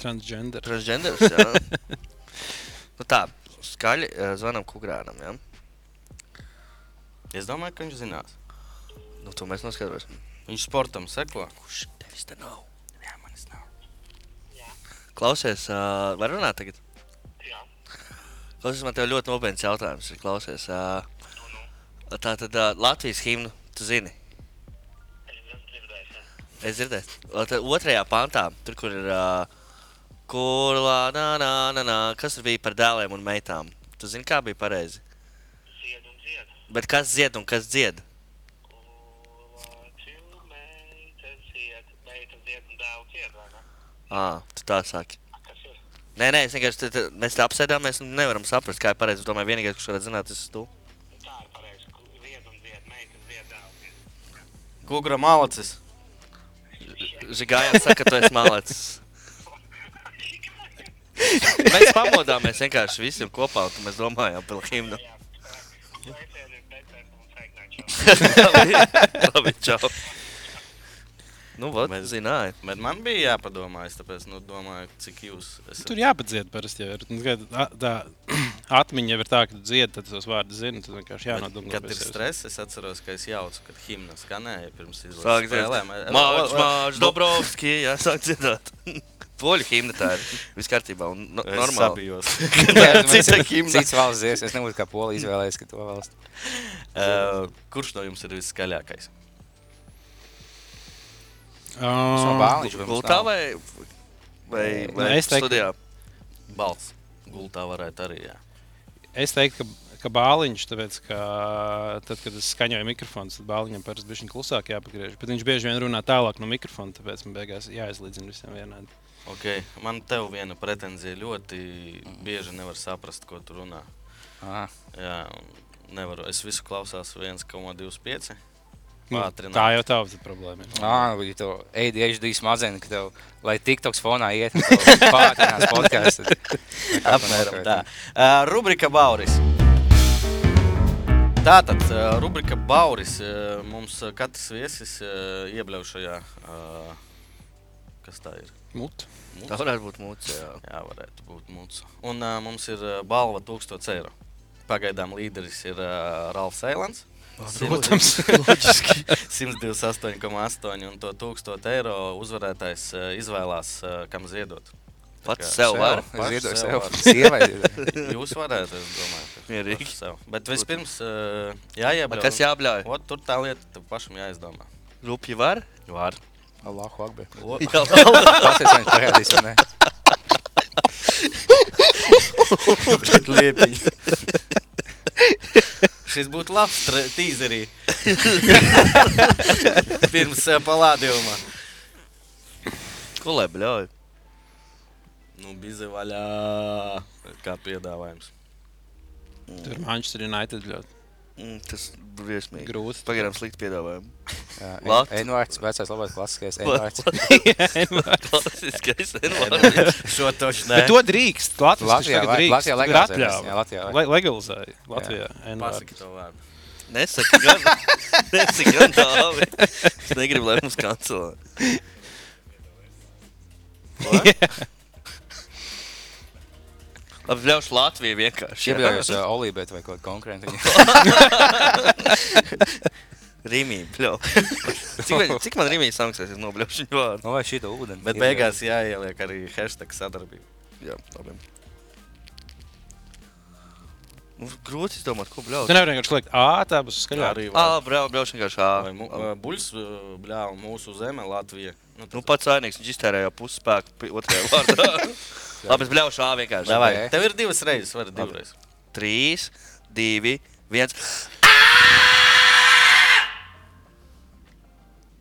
Speaker 4: Transgender.
Speaker 2: transgenders. jā. nu tā, skaļi eh, zvanām Kukrānam, jā.
Speaker 1: Es domāju, ka viņš zinās.
Speaker 2: Nu, to mēs noskaidrosim.
Speaker 1: Viņš sportam seko.
Speaker 2: Kurš tevis te nav?
Speaker 1: Jā, manis nav.
Speaker 2: Klausies, uh, var runāt tagad?
Speaker 5: Jā.
Speaker 2: Klausies, man tev ļoti nopietns jautājums ir. Klausies, uh, tā tad uh, Latvijas himnu, tu zini.
Speaker 5: Es esmu dzirdējis, jā.
Speaker 2: Es dzirdēju, ka otrajā pantā, tur, kur ir uh, kurlā, nā, nā, nā, nā, kas tur bija par dēliem un meitām. Tu zini, kā bija pareizi.
Speaker 5: Zied un zied.
Speaker 2: Bet kas dzied un kas dzied?
Speaker 5: Nu, Kulāču meita zied, meita zied un dēlu zied, vai ne?
Speaker 2: À, tu tā saki.
Speaker 5: Kas ir?
Speaker 2: Nē, nē, es vienkārši te, te, mēs te apsēdāmies un nevaram saprast, kā ir pareizi. Es domāju, vienīgais, kurš varētu zināt, tas ir tu.
Speaker 5: Tā ir pareizi. Ku- Zied un zied, meita zied, dēlu zied.
Speaker 1: Kukurā malacis.
Speaker 2: Žigājā saka, tu esi malācis. Mēs pamodāmies vienkārši visiem kopā, un mēs domājām par himnu.
Speaker 5: Jā. Sveicieni, sveicieni un sveicināšu.
Speaker 2: Labi, čau. Nu, vot,
Speaker 1: Mēs-
Speaker 2: zināju.
Speaker 1: Bet man bija jāpadomā, es tāpēc nu, domāju, cik jūs esat.
Speaker 4: Tur jāpadzied parasti. Jau ir. Nu, kad a- tā atmiņa jau ir tā, ka tu dziedi, tad tos vārdus zini. Tad vienkārši
Speaker 1: Bet,
Speaker 4: jānodomā.
Speaker 1: Kad ir stress, es atceros, ka es jaucu, kad himna skanēja pirms izlases
Speaker 2: Sāk
Speaker 1: spēlēm.
Speaker 2: dzirdēt, Mārcis, Mārcis, Dobrovski, jā, sāk dzirdēt. Poļu himna tā ir. Viss kārtībā un no,
Speaker 1: Es
Speaker 2: normāli.
Speaker 1: sabijos. Cita
Speaker 3: Cits,
Speaker 1: himna.
Speaker 3: cits valsts dzies, es nebūtu kā polija izvēlējies, ka to valsts.
Speaker 1: Ā, Eh, Kurš no jums ir viskaļākais?
Speaker 3: No bāliņš, bet mums
Speaker 2: Gultā
Speaker 3: nav.
Speaker 2: vai, vai,
Speaker 4: Nē,
Speaker 2: vai
Speaker 4: es teiktu-
Speaker 2: studijā?
Speaker 1: Balts. Gultā varētu arī. Jā.
Speaker 4: Es teiktu, ka, ka bāliņš, tāpēc, ka tad, kad es skaņoju mikrofonu, tad bāliņam parasti bija klusāk jāpagriež. Bet viņš bieži vien runā tālāk no mikrofona, tāpēc man beigās jāizlīdzina visiem vienādi.
Speaker 1: Okay. Man te ir viena pretenzija. Ļoti bieži nevar saprast, ko tu runā.
Speaker 3: Aha.
Speaker 1: Jā, un nevaru. Es visu klausās 1,25.
Speaker 4: Nu,
Speaker 1: Pātrināt.
Speaker 4: tā jau tā ir problēma. ir.
Speaker 3: Ā, nu, ja tev ADHD smadzenes, ka tev, lai TikToks fonā iet, pārtēnās podkāstu.
Speaker 1: Apmēram tā. Ā, Rubrika Bauris. Tātad, ā, rubrika Bauris. ā, Mums ā, katrs viesis ā, iebļauj šajā. ā, Kas tā ir?
Speaker 4: Mut.
Speaker 2: Tā varētu būt mūcis. Jā.
Speaker 1: Jā, varētu būt mūsu. Un uh, mums ir uh, balva 1000 eiro. Pagaidām līderis ir uh, Ralfs Eilants.
Speaker 4: Protams,
Speaker 1: 128,8 un to 1000 eiro uzvarētājs uh, izvēlās, uh, kam ziedot.
Speaker 2: Pats
Speaker 1: kā-
Speaker 2: sev var.
Speaker 1: Pašu
Speaker 3: Ziedoju
Speaker 1: sev
Speaker 3: sev.
Speaker 1: var.
Speaker 3: Sievai. ziedoju.
Speaker 1: Jūs varētu, es domāju, ka
Speaker 2: Mierīgi.
Speaker 1: paši sev. Bet vispirms uh, jāiebļauj.
Speaker 2: Kas jābļauj?
Speaker 1: Ot, tur tā lieta, tev pašam jāizdomā.
Speaker 2: Rupji var?
Speaker 1: Var.
Speaker 3: Allahu akbar.
Speaker 1: O,
Speaker 2: Jā,
Speaker 3: Klausies, vai viņš parādīs, vai ne?
Speaker 1: liepiņ. Šis būtu labs tre- tīzerī. Pirms eh, palādījuma.
Speaker 2: ko lai bļauj?
Speaker 1: Nu, bija vaļā. Kā piedāvājums.
Speaker 4: tur Manchester United ļoti
Speaker 2: Mm, Tas briesmīgi.
Speaker 4: grūti.
Speaker 2: Pagaidām slikti piedāvājumi.
Speaker 3: Jā, En-
Speaker 2: Lat.
Speaker 3: Envārds, vecais labais klasiskais Envārds.
Speaker 2: Klasiskais. Envārds.
Speaker 1: Šo toši
Speaker 4: Bet
Speaker 1: nē.
Speaker 4: to drīkst. Latvijas
Speaker 3: Latvijā
Speaker 4: Latvijā,
Speaker 3: vai-
Speaker 4: Latvijā
Speaker 3: Latvijā legalizē tas, jā, Latvijā vai-
Speaker 4: legalizēja. Latvijā
Speaker 1: Pasaki
Speaker 4: NVārds.
Speaker 1: to vārdu.
Speaker 2: Nesaki gan. Nesaki gan tālu. Es negribu, lai mums kancelē. Labi, ļaušu Latvijai vienkārši. jā.
Speaker 3: Iebijājos uh, Olībēt vai kaut kādu konkrētu.
Speaker 2: Rīmī, pļau. cik, man, cik man Rīmī samaksās, es nobļaušu viņu vārdu?
Speaker 3: Nu, vai šī tā ūdeni?
Speaker 1: Bet beigās jāieliek arī hashtag sadarbība.
Speaker 2: Jā, labi. Nu, grūti izdomāt, ko bļaut.
Speaker 4: Tu nevari Nu, vienkārši likt, ah, tā būs skaļāk.
Speaker 1: Arī var.
Speaker 2: Ā, bļau, bļaušu vienkārši
Speaker 1: Vai mu-
Speaker 2: ā.
Speaker 1: ā, Buļs, ā, bļā, un mūsu zeme, Latvija. Nu,
Speaker 2: Nu,
Speaker 1: tad-
Speaker 2: pats ainīgs, viņš iztērēja pusi spēku pi- otrajā vārdā. labi, es bļaušu ā vienkārši.
Speaker 1: Davai,
Speaker 3: Ok.
Speaker 1: tev ir divas reizes, var divreiz.
Speaker 2: 3, 2, 1.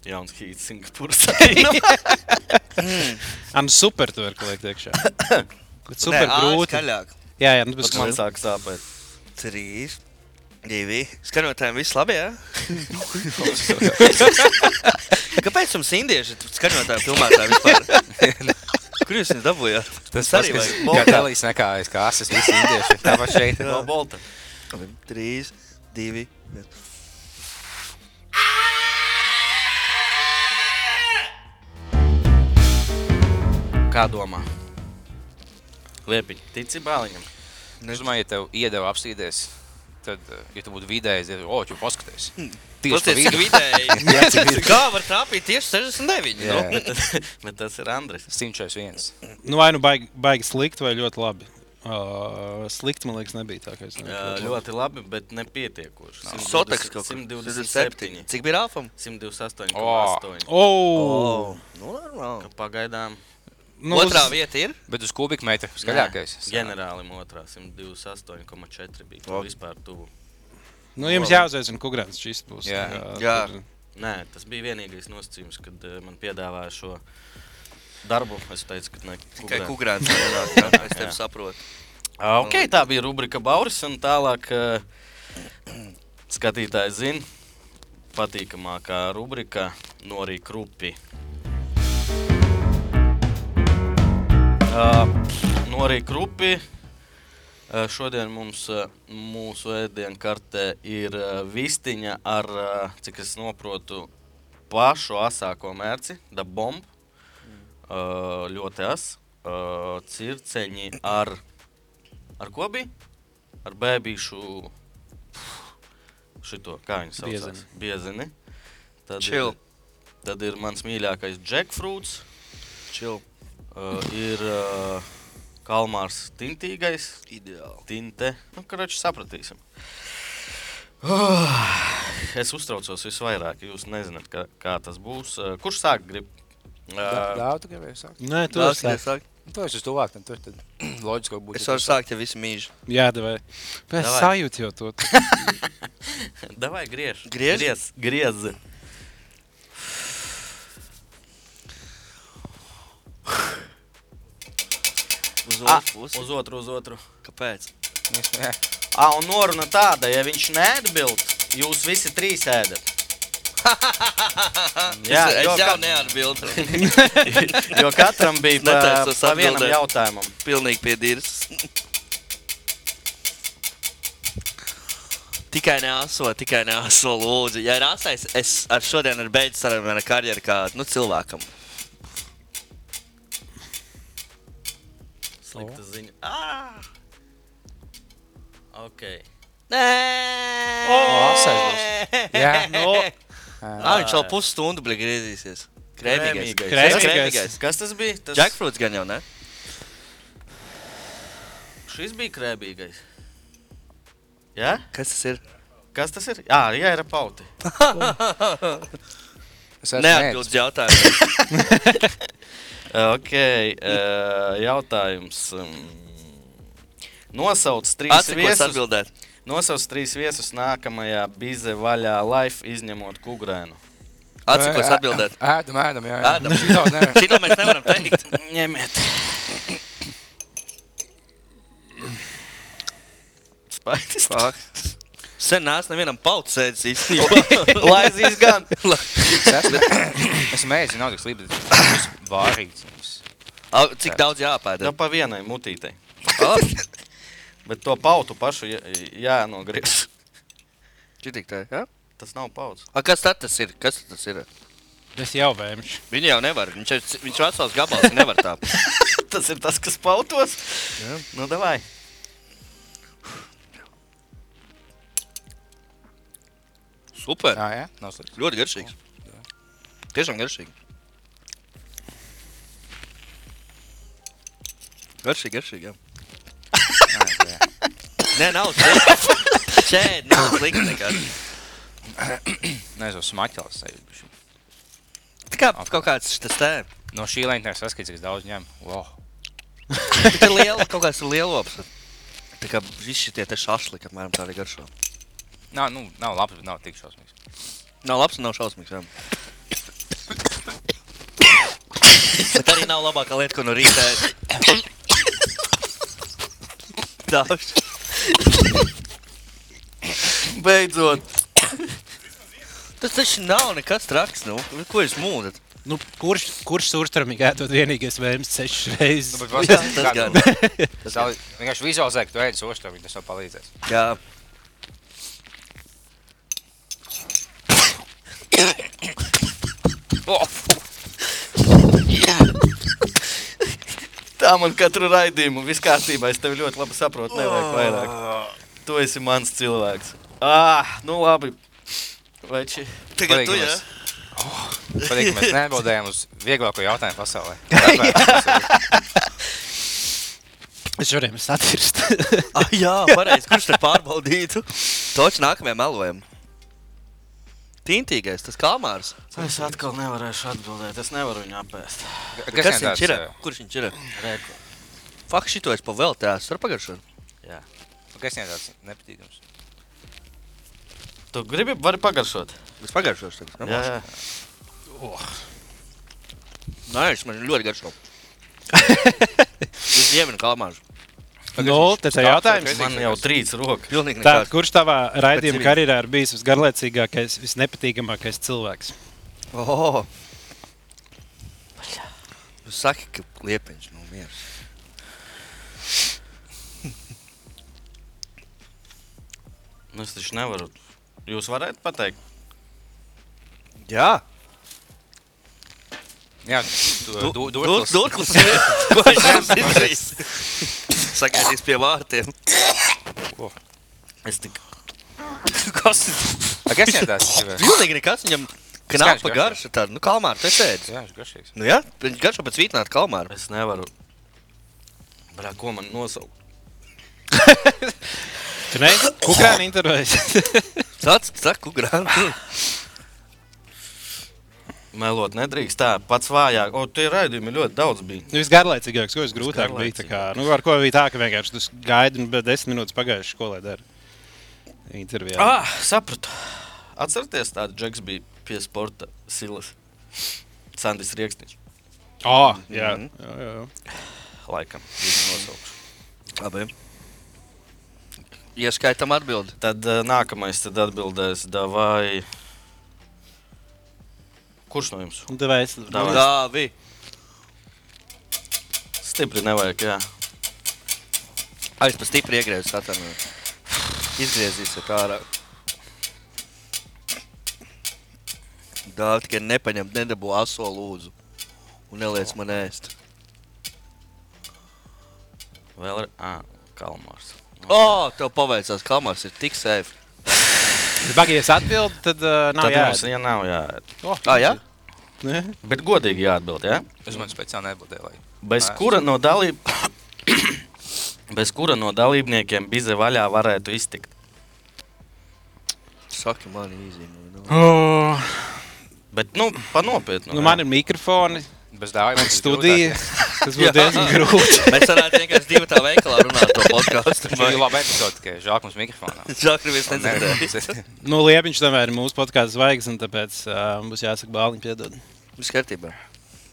Speaker 1: Jauns hīts Singapūras.
Speaker 2: Hmm,
Speaker 4: Am super, tu vari likt iekšā. Bet
Speaker 2: Nē,
Speaker 4: super
Speaker 2: ā,
Speaker 4: grūti.
Speaker 2: Skaļāk.
Speaker 4: Jā, jā, nu, tas
Speaker 1: Man
Speaker 4: man
Speaker 1: sāk sāpēt.
Speaker 2: 3, 2. Skanotājiem viss labi, jā? Kāpēc jums indieši skanotāji filmētāji vispār? Kur jūs viņus dabūjāt?
Speaker 3: Tas
Speaker 2: arī
Speaker 3: arī
Speaker 2: vajag.
Speaker 3: bija. Kā Elīze nekājas, kā asas visi indieši. Tāpat šeit.
Speaker 1: No Bolta.
Speaker 2: 3, 2, 1.
Speaker 1: Kā domā? Liepiņ, tici bāliņam.
Speaker 3: Nu, Es domāju, ja tev iedeva apsīties, tad, uh, ja tu būtu vidējis, tad, o, tu paskaties. Tieši pa
Speaker 2: Tas ir
Speaker 3: vidu.
Speaker 2: vidēji. Kā var trāpīt tieši 69?
Speaker 3: Jā.
Speaker 2: Nu?
Speaker 1: Bet tas ir Andris.
Speaker 3: 141.
Speaker 4: Nu, vai nu baigi, baigi slikti, vai ļoti labi. Uh, slikti, man liekas, nebija tā, ka es nebiju.
Speaker 1: Jā, ļoti labi, bet nepietiekoši. 120
Speaker 2: Soteks kaut kur.
Speaker 1: 127.
Speaker 2: Cik bija Rāfam?
Speaker 1: 128.
Speaker 3: O.
Speaker 1: 8.
Speaker 4: Oh!
Speaker 2: Nu, normāli.
Speaker 1: Pagaidām
Speaker 4: Nu,
Speaker 2: Otrā
Speaker 4: uz-
Speaker 2: vieta ir.
Speaker 3: Bet uz kubikmetru skaļākais.
Speaker 1: Nē, Ģenerālim otrā 128,4 bija.
Speaker 2: O.
Speaker 1: Tas vispār tuvu.
Speaker 4: Nu, jums jāuzveicina, kur grāmatas šis būs.
Speaker 3: Jā.
Speaker 4: tā kā
Speaker 2: Jā.
Speaker 4: tur-
Speaker 1: Nē, tas bija vienīgais nosacījums, kad eh, man piedāvāja šo darbu. Es teicu, ka ne.
Speaker 2: Tikai
Speaker 1: kukurē.
Speaker 2: kukurēns nenāk, jā, es tevi saprotu.
Speaker 1: Ah, Ok, tā bija rubrika Bauris. un Tālāk eh, skatītāji zina, patīkamākā rubrika Norija Krupi. Uh, Norija Krupi. Eh, Šodien mums eh, mūsu ēdienu kartē ir eh, vistiņa ar, eh, cik es saprotu, pašu asāko mērci, dabombu. Ļoti asa. Circeņi ar Ar ko bija? Ar bēbīšu šito, kā viņi sauc.
Speaker 4: Biezeni.
Speaker 1: Biezini. Tad
Speaker 2: Chill.
Speaker 1: Ir, tad ir mans mīļākais jackfruits,
Speaker 2: Chill.
Speaker 1: uh, ir uh, kalmārs tintīgais,
Speaker 2: Ideāli.
Speaker 1: tinte. Nu, Karoči, sapratīsim. Es uztraucos visvairāk. Jūs nezināt, kā, kā tas būs. Uh, Kurš sāk grib? Uh,
Speaker 3: Daudz, ka vēl sākt.
Speaker 4: Nē, tu
Speaker 2: Dārs,
Speaker 4: esi.
Speaker 2: kad es saku,
Speaker 3: Tu esi uz tuvāk, tad tur tad loģiski būtu.
Speaker 2: Es varu sākt ar visu mīļu.
Speaker 4: Jā, devai. Pēc
Speaker 1: Davai.
Speaker 4: sajūta jau to.
Speaker 1: Davai griež.
Speaker 2: Griež?
Speaker 1: Griez, griez.
Speaker 2: Uz
Speaker 1: Ah,
Speaker 2: otru pusi.
Speaker 1: uz otru, uz otru.
Speaker 2: Kāpēc?
Speaker 3: Jā,
Speaker 1: Ah, un noruna tāda, ja viņš neatbild, jūs visi trīs ēdat. Jā,
Speaker 2: es,
Speaker 1: jo,
Speaker 2: es jau
Speaker 1: ka-
Speaker 2: neatbildu.
Speaker 1: jo katram bija pa,
Speaker 2: Netaisos
Speaker 1: pa vienam
Speaker 2: atbildēt.
Speaker 1: jautājumam.
Speaker 2: Pilnīgi pie dirs. Tikai neaso, tikai neaso, lūdzu. Ja ir asais, es ar šodien ir beidzis ar manu karjeru kā nu, cilvēkam.
Speaker 1: Slikta ziņa. Ah!
Speaker 2: Ah,
Speaker 1: Ok.
Speaker 2: Nē,
Speaker 3: asais jā.
Speaker 2: no. Ah, viņš vēl pusstundu bija griezīsies. Krēmīgais.
Speaker 1: Krēmīgais.
Speaker 2: Tas
Speaker 4: Krēmīgais.
Speaker 1: Kas tas bija? Tas,
Speaker 2: Jackfruits gan jau, ne?
Speaker 1: šis bija krēbīgais. Jā?
Speaker 2: Kas tas ir?
Speaker 1: Kas tas ir? Jā, jā, ir pauti.
Speaker 3: es esmu
Speaker 2: Neatbildes jautājumu.
Speaker 1: Ok, uh, jautājums. mm, Nosauc trīs
Speaker 2: Atsakos
Speaker 1: viesus.
Speaker 2: atbildēt.
Speaker 1: Nosauc trīs viesus nākamajā bize vaļā life, izņemot kukurēnu.
Speaker 2: Atsakos atbildēt.
Speaker 3: Ēdam, ēdam, jā. jā.
Speaker 2: Ēdam.
Speaker 3: Šī daudz nevar.
Speaker 2: Šī no mēs nevaram teikt.
Speaker 1: Ņemiet. Spēcīgs.
Speaker 2: Fuck. Sen nāc nevienam paucēdis īstenībā.
Speaker 1: Laizīs gan.
Speaker 3: Es esmu- Es mēģinu, nav tik slikti, bet tas ir vārīgs.
Speaker 2: Au, Cik daudz
Speaker 1: Tā
Speaker 2: jāpēda?
Speaker 1: Nu, pa vienai mutītei.
Speaker 2: Nu, Ap-
Speaker 1: Bet to pautu pašu jā, jānogriež.
Speaker 2: Šitik tā, jā?
Speaker 1: Tas nav pauts.
Speaker 2: A, kas tad tas ir? Kas tad tas ir?
Speaker 4: Es jau vēmšu.
Speaker 2: Viņa jau nevar. Viņš, ir- viņš ir vesels gabals, nevar tā.
Speaker 1: Tas ir tas, kas pautos.
Speaker 2: Jā.
Speaker 1: Nu, davai.
Speaker 2: Super.
Speaker 3: Jā, jā, nav slikti.
Speaker 2: Ļoti garšīgs. Tiešām garšīgi. Garšīgi, garšīgi. Jā.
Speaker 3: Jā, jā.
Speaker 2: Nē, nav slikti. Čēdi, nav slikti. nekāds.
Speaker 3: Nezinu, smaķels sajūta. bišķi.
Speaker 2: Tā kā kaut kāds tas tē.
Speaker 3: No šī lēņa saskaits, cik daudz ņem. Wow.
Speaker 2: Bet ir liela, kaut kāds ir lielops. Tā kā visi tie te šašliki apmēram tādi garšo.
Speaker 3: Nav, nu, nav labs, bet nav tik šausmīgs.
Speaker 2: Nav labs un nav šausmīgs. Jā. Bet arī nav labākā lieta, ko no rīta. ēst. Daudz.
Speaker 1: Beidzot.
Speaker 2: Tas taču nav nekas traks. Nu. Ko jūs mūdat?
Speaker 4: Nu, kurš kurš surstrāmīgi ēdot vienīgais vējams sešas
Speaker 3: Nu,
Speaker 4: reizes?
Speaker 3: bet vas,
Speaker 2: Jā, tas gan.
Speaker 3: Tas vēl- vienkārši vizualizē, ka tu ēdi sošu, tad tas tev palīdzēs.
Speaker 2: Jā.
Speaker 3: Oh, fu.
Speaker 1: Tā man katru raidījumu viss kārtībā. Es tevi ļoti labi saprotu. Nevajag vairāk. Tu esi mans cilvēks. Ah, nu labi. Veči.
Speaker 2: Tagad tu
Speaker 3: Patīk,
Speaker 2: jā.
Speaker 3: mēs- Patīk, Oh, ka mēs neatbildējām uz vieglāko jautājumu pasaulē. Tāpēc,
Speaker 4: Es šodien esmu satirst.
Speaker 2: Ah, jā, pareizi. Kurš te pārbaudītu? Toč nākamajam melojam. Tintīgais, tas kalmārs.
Speaker 1: Es atkal nevarēšu atbildēt. Es nevaru viņu apēst.
Speaker 2: Kas
Speaker 3: Kas viņam
Speaker 2: viņš
Speaker 3: tāds,
Speaker 2: ir?
Speaker 3: eh,
Speaker 2: Kurš viņš ir?
Speaker 1: Reku.
Speaker 2: Fak, šito es pavēltējos ar pagaršanu.
Speaker 3: Kas viņam tāds nepatīkams?
Speaker 1: Tu gribi, vari pagaršot.
Speaker 2: Es pagaršošu tagad.
Speaker 1: Jā, jā.
Speaker 2: Nē, es man ļoti garšo. Es dievinu kalmārs.
Speaker 4: Nu, tas ir jautājums.
Speaker 1: Man jau trīc roka.
Speaker 2: Pilnīgi
Speaker 4: Tā,
Speaker 2: nekāds.
Speaker 4: kurš tavā raidījuma
Speaker 2: Pēc
Speaker 4: karjerā ir bijis visgarlaicīgākais, visnepatīkamākais cilvēks?
Speaker 2: Oho. Tu Oh. Nu saki, ka liepiņš nav miers.
Speaker 1: Nu, es taču nevaru. Jūs varētu pateikt?
Speaker 2: Jā.
Speaker 3: Jā, tu, tu, tu, tu, tu, tu.
Speaker 2: Durklis. Ko viņš jums izdarīs? Sagaidīs pie vārtiem.
Speaker 1: Es tik
Speaker 2: Kas ir?
Speaker 3: Kas viņam tāds? eh,
Speaker 2: Pilnīgi nekas viņam knāpa
Speaker 3: garšo.
Speaker 2: garša tāda. Nu, kalmāra te sēdz.
Speaker 3: Jā, viņš ir garšīgs.
Speaker 2: Nu jā, viņš garšo pēc vītnāta kalmāra.
Speaker 1: Es nevaru. Brā, ko man nosaukt?
Speaker 4: Tu neesi kukurūzā intervijā.
Speaker 2: Sāc, saku, grāmatā.
Speaker 1: Melot nedrīkst. Tā pats vājāk. O, tie raidījumi ļoti daudz bija.
Speaker 4: Nu, visgarlaicīgākais, ko es grūtāk biju. tā Kā, nu, ar ko bija tā, ka vienkārši tu gaidi, un pēc desmit minūtes pagājuši, ko lai dara. Intervijā.
Speaker 1: Ah, sapratu. Atcerieties, tāds džeks bija pie sporta silas. Sandis Rieksniņš.
Speaker 4: oh, jā.
Speaker 1: Mhm.
Speaker 4: Mm -hmm. jā, jā, jā.
Speaker 1: Laikam. viņu nosaukšu.
Speaker 2: Labi. Ieskaitam atbildi.
Speaker 1: Tad uh, nākamais tad atbildēs, vai. Kurš no jums?
Speaker 4: Un tev es
Speaker 1: Davai.
Speaker 2: Dāvi.
Speaker 1: Stipri nevajag, jā.
Speaker 2: Aiz pa stipri iegriezis atvainoju. Izgriezīs ar ārā. Dāvi tikai nepaņem, nedabū aso lūdzu. Un neliec man ēst.
Speaker 1: Vēl ir. Ah, Kalmārs.
Speaker 2: O, Oh, tev paveicās, kalmārs ir tik safe.
Speaker 4: Bagājies atbildēt, tad uh, nav
Speaker 1: Tad mums
Speaker 4: jāatbild.
Speaker 1: ja nav jā. Nu,
Speaker 4: Oh, nu,
Speaker 2: Ā, jā?
Speaker 4: Nē.
Speaker 1: Bet godīgi jāatbild, jā?
Speaker 3: Uz mani speciāli neatbildēja. lai-
Speaker 1: Bez
Speaker 3: Nē.
Speaker 1: kura no dalīb... Bez kura no dalībniekiem bize vaļā varētu iztikt?
Speaker 2: Saki man īzīmē.
Speaker 4: Oh.
Speaker 1: Bet, nu, panopietni.
Speaker 4: Nu, man ir mikrofoni,
Speaker 3: Bez dāvana.
Speaker 4: man ir studija. Tas būtu diezgan grūti.
Speaker 2: Mēs varētu vienkārši divu tā veikalā runāt par podkāstu.
Speaker 3: Tas bija labi epizode, ka žāk mums mikrofonā.
Speaker 2: Žakri viss nedzirdēja.
Speaker 4: Nu, Liepiņš tomēr ir mūsu podkāstu zvaigznes, tāpēc uh, mums jāsaka bāliņu piedod.
Speaker 2: Viss kārtībā.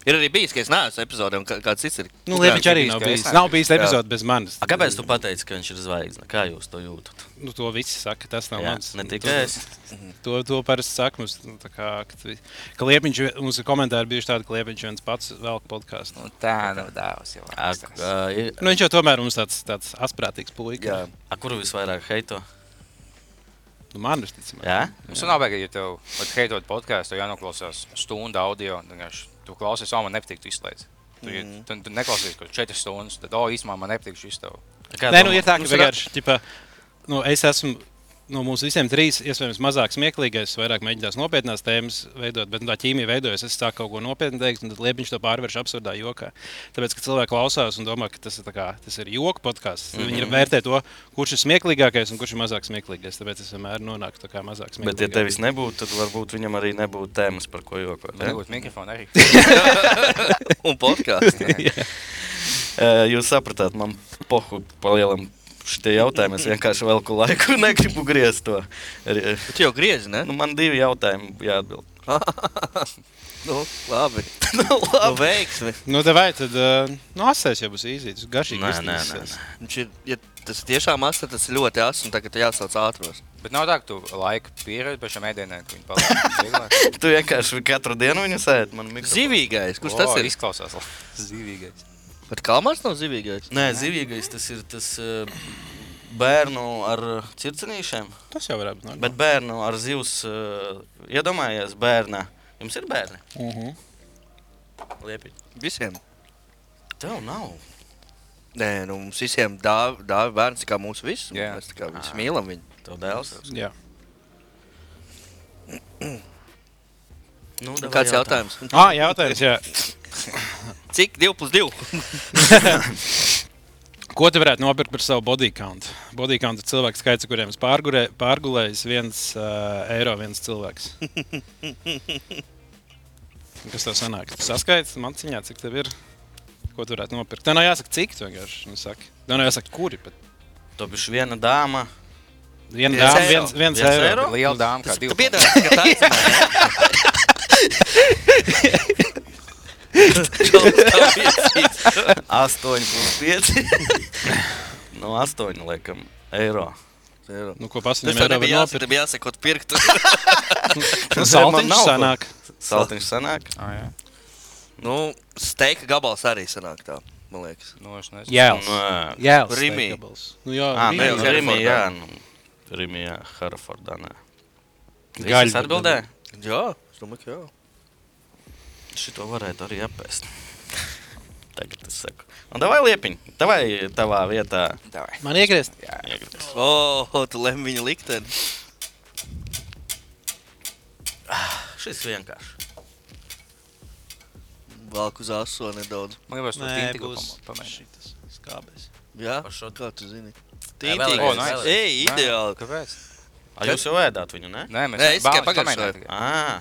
Speaker 2: Ir arī bijis, ka es neesmu epizodē, un kā- kāds cits ir.
Speaker 4: Nu, Liepiņš arī
Speaker 3: bijis,
Speaker 4: nav
Speaker 3: ka
Speaker 4: bijis.
Speaker 3: es neesmu
Speaker 4: Nav
Speaker 3: bijis,
Speaker 4: bijis
Speaker 2: jā.
Speaker 4: epizode bez manis.
Speaker 1: A, kāpēc tu pateici, ka viņš ir zvaigzne? Kā jūs to jūtat?
Speaker 4: Nu, to visi saka, tas nav
Speaker 1: Jā,
Speaker 4: mans.
Speaker 1: ne
Speaker 4: Nu,
Speaker 1: tikai
Speaker 4: to-
Speaker 1: es.
Speaker 4: To, to parasti saka mums. nu, tā Kā, ka, tu- ka Liepiņš, mums ir komentāri bijuši tādi, ka Liepiņš viens pats velk podkāstu.
Speaker 3: Nu, tā nav dāvana jau.
Speaker 1: A, k-
Speaker 3: rakstās.
Speaker 1: a, ir-
Speaker 4: Nu, viņš jau tomēr mums tāds, tāds asprātīgs
Speaker 2: Jā,
Speaker 4: puika.
Speaker 1: a, Kuru visvairāk heito?
Speaker 4: Nu, man uzticamāk.
Speaker 1: Jā?
Speaker 3: Mums nav Nu, baigi, ja tev, kad heidot podkāstu, jānoklausās stunda audio. un vienkārši Tu klausies, o, man nepatīk, tu izslēdz. Tu,
Speaker 2: Mhm.
Speaker 3: mm. tu, tu neklausies, ka 4 stundas, tad, oh, īstenībā man nepatīk šis tev.
Speaker 1: Kā
Speaker 4: Nē, nu,
Speaker 1: domā?
Speaker 4: ir tā, ka
Speaker 2: Mums ir-
Speaker 4: vienkārši, tipā, nu, es esmu no mums visiem trīs, iespējams, mazāk smieklīgais, vairāk mēģinās nopietnās tēmas veidot, bet nu, tā ķīmija veidojas. Es sāku kaut ko nopietnu teikt, un tad liepiņš to pārvērš absurdā jokā. Tāpēc, ka cilvēki klausās un domā, ka tas ir, tā kā, tas ir joku podkāsts, mm -hmm.
Speaker 1: Mhm.
Speaker 4: viņi vērtē to, kurš ir smieklīgākais un kurš ir mazāk smieklīgais. Tāpēc es vienmēr nonāku tā kā mazāk
Speaker 1: Bet, ja
Speaker 4: smieklīgais.
Speaker 1: tevis nebūtu, tad varbūt viņam arī nebūtu tēmas, par ko jokot.
Speaker 3: Man
Speaker 1: ja?
Speaker 3: liekas, mikrofons arī.
Speaker 2: Un podkāsts.
Speaker 1: Ē, Jūs sapratāt, man pohu palielam šitie jautājumi. Es vienkārši velku laiku un negribu griezt to. Arī,
Speaker 2: Tu jau griezi, ne?
Speaker 1: Nu, man divi jautājumi jāatbild.
Speaker 2: Nu, labi.
Speaker 1: Nu,
Speaker 2: Nu, veiksmi.
Speaker 4: Nu, tā vai tad, uh, nu, asēs jau būs īzīts, garšīgi.
Speaker 1: Nē, nē, nē,
Speaker 4: iztīsies.
Speaker 1: nē.
Speaker 2: Viņš ir, ja tas tiešām asa, tas ir ļoti asa, un tagad jāsauc ātros.
Speaker 3: Bet nav tā, ka tu laika pieredzi pie šiem ēdieniem, ka viņi paliek vieglāk.
Speaker 1: Tu vienkārši katru dienu viņu sēdi. Man mikrofons-
Speaker 2: Zivīgais, kurš tas
Speaker 3: O,
Speaker 2: ir?
Speaker 3: Izklausās labi. Zīvīgais.
Speaker 2: Bet kalmārs nav zivīgais.
Speaker 1: Nē, zivīgais tas ir tas ē, bērnu ar circinīšiem.
Speaker 4: Tas jau varētu būt. normāli.
Speaker 1: Bet bērnu ar zivs, ē, iedomājies, bērnā. Jums ir bērni?
Speaker 4: Mhm.
Speaker 1: Liepiņ.
Speaker 2: Visiem.
Speaker 1: Tev nav.
Speaker 2: Nē, nu mums visiem dāvā dāv bērns, kā mūsu visus.
Speaker 3: Jā.
Speaker 2: Mēs tā kā viņus mīlam viņu.
Speaker 1: Tev dēls.
Speaker 4: Jā.
Speaker 1: Nu,
Speaker 2: Nu,
Speaker 1: davai
Speaker 2: Kāds jautājums?
Speaker 4: Ah, jautājums, jā.
Speaker 2: Cik 2 plus 2?
Speaker 4: Ko tu varētu nopirkt par savu body count? Body count ir cilvēks skaits, ar kuriem es pārgurē- pārgulēju, viens uh, eiro, viens cilvēks. Kas tev sanāk? Tu saskaits man ciņā, cik tev ir. Ko tu varētu nopirkt? Tev nav jāsaka, cik tu vienkārši nu, saki. Tev nav jāsaka, kuri. bet
Speaker 1: Tu biji viena dāma.
Speaker 4: Viena
Speaker 2: Viens
Speaker 4: dāma,
Speaker 2: eiro.
Speaker 4: viens, viens,
Speaker 1: Viens
Speaker 4: viens eiro.
Speaker 1: eiro?
Speaker 4: eiro.
Speaker 3: Liela dāma, kā
Speaker 2: Tu
Speaker 3: divi.
Speaker 2: piedāvā, ka tā ir.
Speaker 1: 8,5.
Speaker 2: Čau,
Speaker 1: no 8, Nu, laikam, eiro.
Speaker 2: tā
Speaker 4: Nu, ko pasaka?
Speaker 2: Tas tev
Speaker 4: Viņam ir
Speaker 2: nebija jāsaka,
Speaker 4: jānopirkt.
Speaker 2: tev bija jāsaka, ko tu pirktu.
Speaker 4: Nu,
Speaker 1: Man nav ko.
Speaker 4: Saltiņš sanāk.
Speaker 1: Saltiņš sanāk.
Speaker 3: Ah, jā.
Speaker 2: nu, steika gabals arī sanāk tā, man liekas.
Speaker 3: Nu, es nezinu.
Speaker 4: Jēls.
Speaker 1: Nē.
Speaker 4: Jēls.
Speaker 2: Rimī.
Speaker 4: steikables. Nu, jā,
Speaker 1: eh, Ā, nē,
Speaker 2: Rimijā,
Speaker 1: jā, Rimī,
Speaker 2: Herfordā.
Speaker 4: Rimī.
Speaker 1: jā. Nu, Rimī, jā, Harfordā, nē.
Speaker 4: Gaļu
Speaker 1: Gaļas atbildē?
Speaker 2: Jā, es domāju, ka jā.
Speaker 1: Šito varētu arī apēst. Tagad es saku. Un davai liepiņ, davai tavā vietā.
Speaker 3: Mm, Davai.
Speaker 4: Man iegriezt.
Speaker 1: Iegriez.
Speaker 2: O, oh, tu lem viņa likteni.
Speaker 1: Ah, Šis vienkārši.
Speaker 2: Valku uz aso nedaudz.
Speaker 3: Man liekas, tas ir tikai
Speaker 4: skābēs.
Speaker 2: Jā,
Speaker 1: Par šo-
Speaker 2: kā tu zini?
Speaker 1: Nē,
Speaker 2: Tīntīgi.
Speaker 1: vēlreiz,
Speaker 2: O, nice.
Speaker 1: vēlreiz.
Speaker 2: Ej, ideāli.
Speaker 3: Kāpēc?
Speaker 1: A, jūs jau ēdāt viņu, ne?
Speaker 3: Nē, mēs
Speaker 2: Nē, es tikai
Speaker 3: bāliņus pamēģinām
Speaker 2: pagaršoju.
Speaker 3: tikai.
Speaker 1: Ā.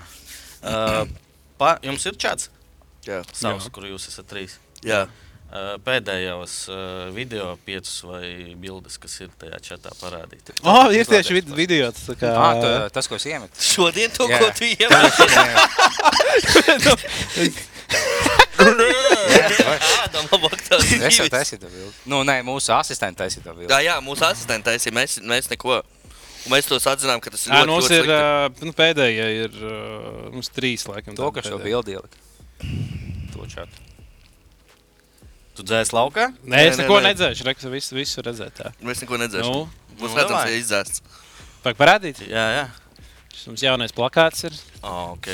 Speaker 1: Uh, pa, jums ir čats
Speaker 2: Jā,
Speaker 1: savs, kur jūs esat trīs.
Speaker 2: jā.
Speaker 1: Ā, Pēdējos ā, video piecus vai bildes, kas ir tajā čatā parādīti.
Speaker 4: O, oh, ir tieši vid video. tas tā Kā...
Speaker 3: Ah, tā, tas, ko es iemetu.
Speaker 2: Šodien to,
Speaker 3: Jā.
Speaker 2: ko tu ievēlēji. Ādam, labāk tā
Speaker 3: Es jau
Speaker 2: dzīvis.
Speaker 3: taisīju to bildi. Nu, nē, mūsu asistenti taisīja to bildi.
Speaker 2: Jā, jā, mūsu asistenti taisīja, mēs, mēs neko. Un mēs tos atzinām, ka tas ir
Speaker 4: Ā,
Speaker 2: ļoti,
Speaker 4: mums
Speaker 2: ļoti
Speaker 4: ir
Speaker 2: slikti.
Speaker 4: ā, nu, pēdējā, ir ā, mums trīs laikam.
Speaker 3: To,
Speaker 4: tādi
Speaker 3: kas šo
Speaker 4: pēdējie.
Speaker 3: bildi ielika. To čatu.
Speaker 1: Tu dzēsi laukā?
Speaker 4: Nē, es
Speaker 2: Nē, nē,
Speaker 4: neko
Speaker 2: nē.
Speaker 4: nedzēšu, reks, visu, visu redzēt. Tā.
Speaker 2: Mēs neko
Speaker 4: Nu,
Speaker 2: nedzēsim. Būs
Speaker 1: nu,
Speaker 2: redzams,
Speaker 1: davai.
Speaker 2: ja izdzēsts.
Speaker 4: Pag parādīt,
Speaker 1: Jā, jā.
Speaker 4: šis mums jaunais plakāts ir.
Speaker 1: Oh, ok.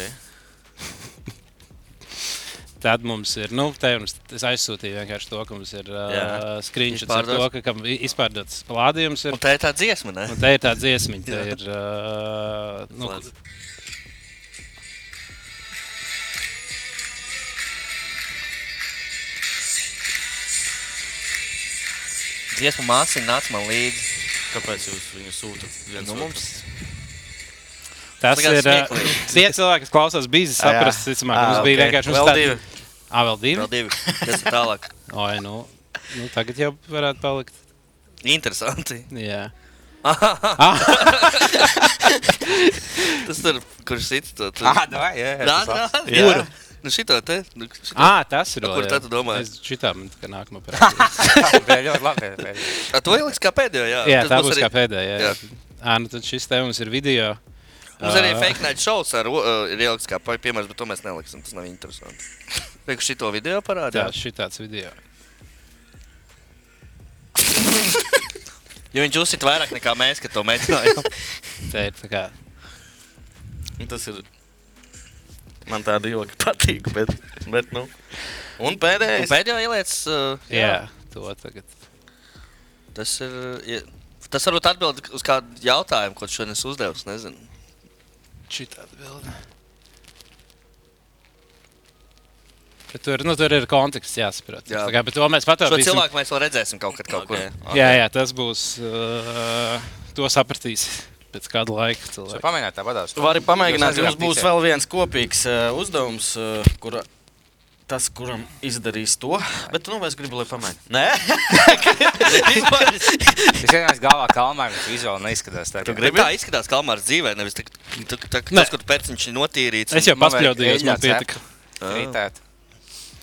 Speaker 4: Tad mums ir, nu, te jums es aizsūtīju vienkārši to, ka mums ir uh,
Speaker 1: Jā.
Speaker 4: skriņšots ar to,
Speaker 2: Izpārdots.
Speaker 4: ka kam i- izpārdots plādījums ir.
Speaker 2: Un tā ir tā dziesma, ne?
Speaker 4: Un te ir tā dziesmiņa, te ir, uh, nu,
Speaker 1: Slēdz.
Speaker 2: Dziesma māsīm nāca man līdzi.
Speaker 1: Kāpēc jūs viņu sūtat? viens
Speaker 2: Nu,
Speaker 1: otram?
Speaker 2: mums
Speaker 4: tas
Speaker 2: Likās
Speaker 4: ir, uh,
Speaker 2: smieklīgi.
Speaker 4: tie cilvēki, kas klausās bīzi, saprast, cicamāk, ka
Speaker 1: Ā,
Speaker 4: mums bija
Speaker 1: ok.
Speaker 4: vienkārši
Speaker 1: Vēl
Speaker 4: uzstādīt.
Speaker 1: divi.
Speaker 4: Ā, vēl divi?
Speaker 2: vēl divi. Tas ir tālāk.
Speaker 4: Oi, nu, nu, tagad jau varētu palikt.
Speaker 2: Interesanti.
Speaker 4: Jā. Ah,
Speaker 2: Tas tur, kurš sit to. tu-
Speaker 3: Ah, davai, jā, jā.
Speaker 2: Nā,
Speaker 3: tas labi.
Speaker 2: nā,
Speaker 1: Jā.
Speaker 2: jā. Nu šito te. Nu, šito.
Speaker 4: Ah, tas ir.
Speaker 2: Ar kuru
Speaker 4: vēl,
Speaker 2: tā
Speaker 4: jā.
Speaker 2: tu domāji?
Speaker 4: Es šitā man tā kā nākamā pēdējā.
Speaker 3: Bija ļoti labi. bija ļoti labi.
Speaker 2: A, to ieliks kā pēdējo, jā.
Speaker 4: jā,
Speaker 2: Tas
Speaker 4: tā
Speaker 2: būs
Speaker 4: būs
Speaker 2: arī-
Speaker 4: kā pēdējā. Jā. Ah, nu tad šis te mums ir video. Ah,
Speaker 2: Mums arī
Speaker 4: Ā.
Speaker 2: fake night shows ar, uh, ir ieliks kā pa- piemērs, bet to mēs neliksim. Tas nav interesanti. Reku šito video
Speaker 4: Jā,
Speaker 2: parādīt.
Speaker 4: šitāds video.
Speaker 2: Jo viņš uzsit vairāk nekā mēs, kad to mēģinājām.
Speaker 4: Te ir tā kā.
Speaker 1: Tas ir. Man tāda joki patīk, bet. bet nu. Un
Speaker 2: Un
Speaker 1: pēdējais.
Speaker 2: pēdējā ielietas, uh,
Speaker 4: Jā, to tagad.
Speaker 2: tas ir. uh, ie- Tas varbūt atbild uz kādu jautājumu, ko tu šodien es uzdevu. es Nezinu.
Speaker 4: Šitā atbilde. Bet tur, nu, tur ir konteksts jāsaprot.
Speaker 2: Jā.
Speaker 4: Jā. Tā kā, bet to mēs
Speaker 2: Šo
Speaker 4: patvērsim.
Speaker 2: cilvēku mēs vēl redzēsim kaut kad kaut kur.
Speaker 1: Ok.
Speaker 4: Jā, jā, tas būs. Uh, to sapratīs pēc kāda laika.
Speaker 3: Jūs
Speaker 4: Cilvēki.
Speaker 3: pamēģināt tā vadās.
Speaker 1: Vari pamēģināt,
Speaker 3: Jūs
Speaker 1: jums
Speaker 3: nezināt,
Speaker 1: būs
Speaker 3: ticēt.
Speaker 1: vēl viens kopīgs uh, uzdevums, uh, kur tas, kuram izdarīs to. Bet, nu, es gribu, lai pamēģinātu. Nē,
Speaker 3: Es vienkārši galvā kalmā, viņš vizuāli neizskatās tā.
Speaker 2: Bet Tā izskatās Kalmāra dzīvē, nevis tik- tik- tik-
Speaker 4: Nē.
Speaker 2: tas, kur pērciņš ir notīrīts.
Speaker 4: Es jau
Speaker 3: Man vajag
Speaker 4: paspļaudījos, man
Speaker 3: eļļā
Speaker 4: pietika.
Speaker 3: Rītēt.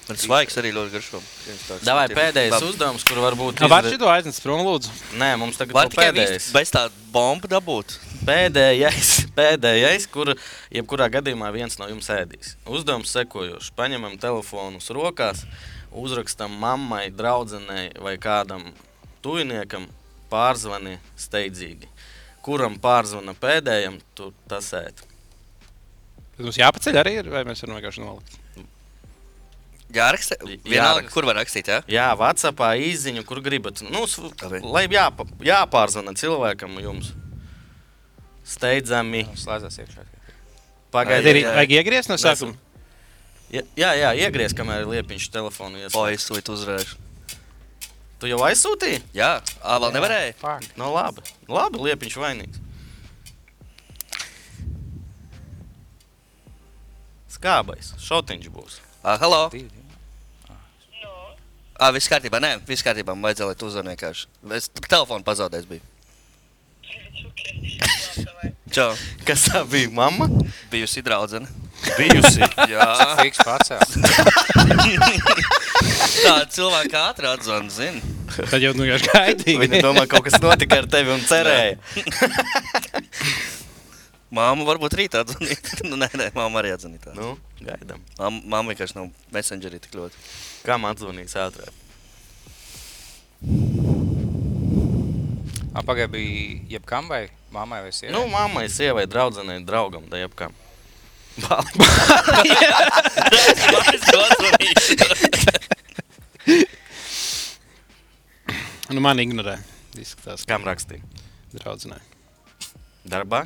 Speaker 2: Man svaigs arī ļoti garšo. Viens tāds-
Speaker 1: Davai, pēdējais
Speaker 2: Labi.
Speaker 1: uzdevums, kur varbūt.
Speaker 4: Vai
Speaker 1: izdar-
Speaker 4: šito aiznest prom, lūdzu?
Speaker 1: Nē, mums tagad
Speaker 2: Var
Speaker 1: ir
Speaker 2: tikai
Speaker 1: pēdējais.
Speaker 2: visu- bez tā bomba dabūt.
Speaker 1: Pēdējais, pēdējais, kur jebkurā gadījumā viens no jums ēdīs. Uzdevums sekojošs. Paņemam telefonus rokās, uzrakstam mammai, draudzenei vai kādam tuviniekam, pārzvani steidzīgi. Kuram pārzvana pēdējam, tur tas ēd.
Speaker 4: Tad mums jāpaceļ arī, ir, vai mēs varam vienkārši nolikt?
Speaker 2: Jāraksta.
Speaker 1: J-
Speaker 2: Vienalga,
Speaker 1: jāraksta.
Speaker 2: kur var rakstīt, jā?
Speaker 1: Jā, Vācijā īziņu, kur gribat. Nu, s-
Speaker 2: Labi.
Speaker 1: lai jāpa, jāpārzvana cilvēkam jums. Steidzami,
Speaker 3: Slēdzās iekšā.
Speaker 4: Vai
Speaker 1: pagaidiet.
Speaker 4: ir
Speaker 2: jā, jā.
Speaker 4: vajag iegriezt no
Speaker 2: Mēs-
Speaker 4: sākuma?
Speaker 1: Jā, jā, jā iegriez, kamēr liepiņš telefonu
Speaker 2: O,
Speaker 1: iesaistās.
Speaker 2: es to uzvarēšu.
Speaker 1: Tu jau aizsūtīji?
Speaker 2: Jā, ā, vēl nevarēju.
Speaker 3: Fuck.
Speaker 1: Nu, labi. Labi, liepiņš vainīgs. Skābais, šautiņš būs.
Speaker 2: Ā, Halo!
Speaker 5: Nu,
Speaker 2: Ā, viss kārtībā, nē, viss kārtībā. Man vajadzēja, lai tu uzvani vienkārši. Es t- telefonu pazaudēju. biju.
Speaker 5: ok. Labi, davai.
Speaker 2: Čau!
Speaker 1: Kas tā bija? Mama?
Speaker 2: Bijusi draudzene.
Speaker 1: Bijusi.
Speaker 2: Jā,
Speaker 3: Fiks pacēl.
Speaker 2: tā cilvēka ātri atzvan, zini.
Speaker 4: Tad jau nu, vienkārši gaidīju.
Speaker 1: Viņa domā, kaut kas notika ar tevi un cerēja.
Speaker 2: Māma varbūt rīt atzvanīt. nu, nē, nē, māma arī atzvanīt.
Speaker 1: Nu, gaidām.
Speaker 2: Māma, māma vienkārši nav messengerī tik ļoti.
Speaker 1: Kam atzvanīs ātrāk?
Speaker 3: Apagaid Ah, bija jebkam vai mammai vai sievai?
Speaker 1: Nu, mammai, sievai, draudzenei, draugam, da jebkam.
Speaker 2: Es to atzvanīšu.
Speaker 4: Nu, man ignorē. Izskatās, kā
Speaker 1: Kam rakstīja?
Speaker 4: draudzenē.
Speaker 1: Darbā?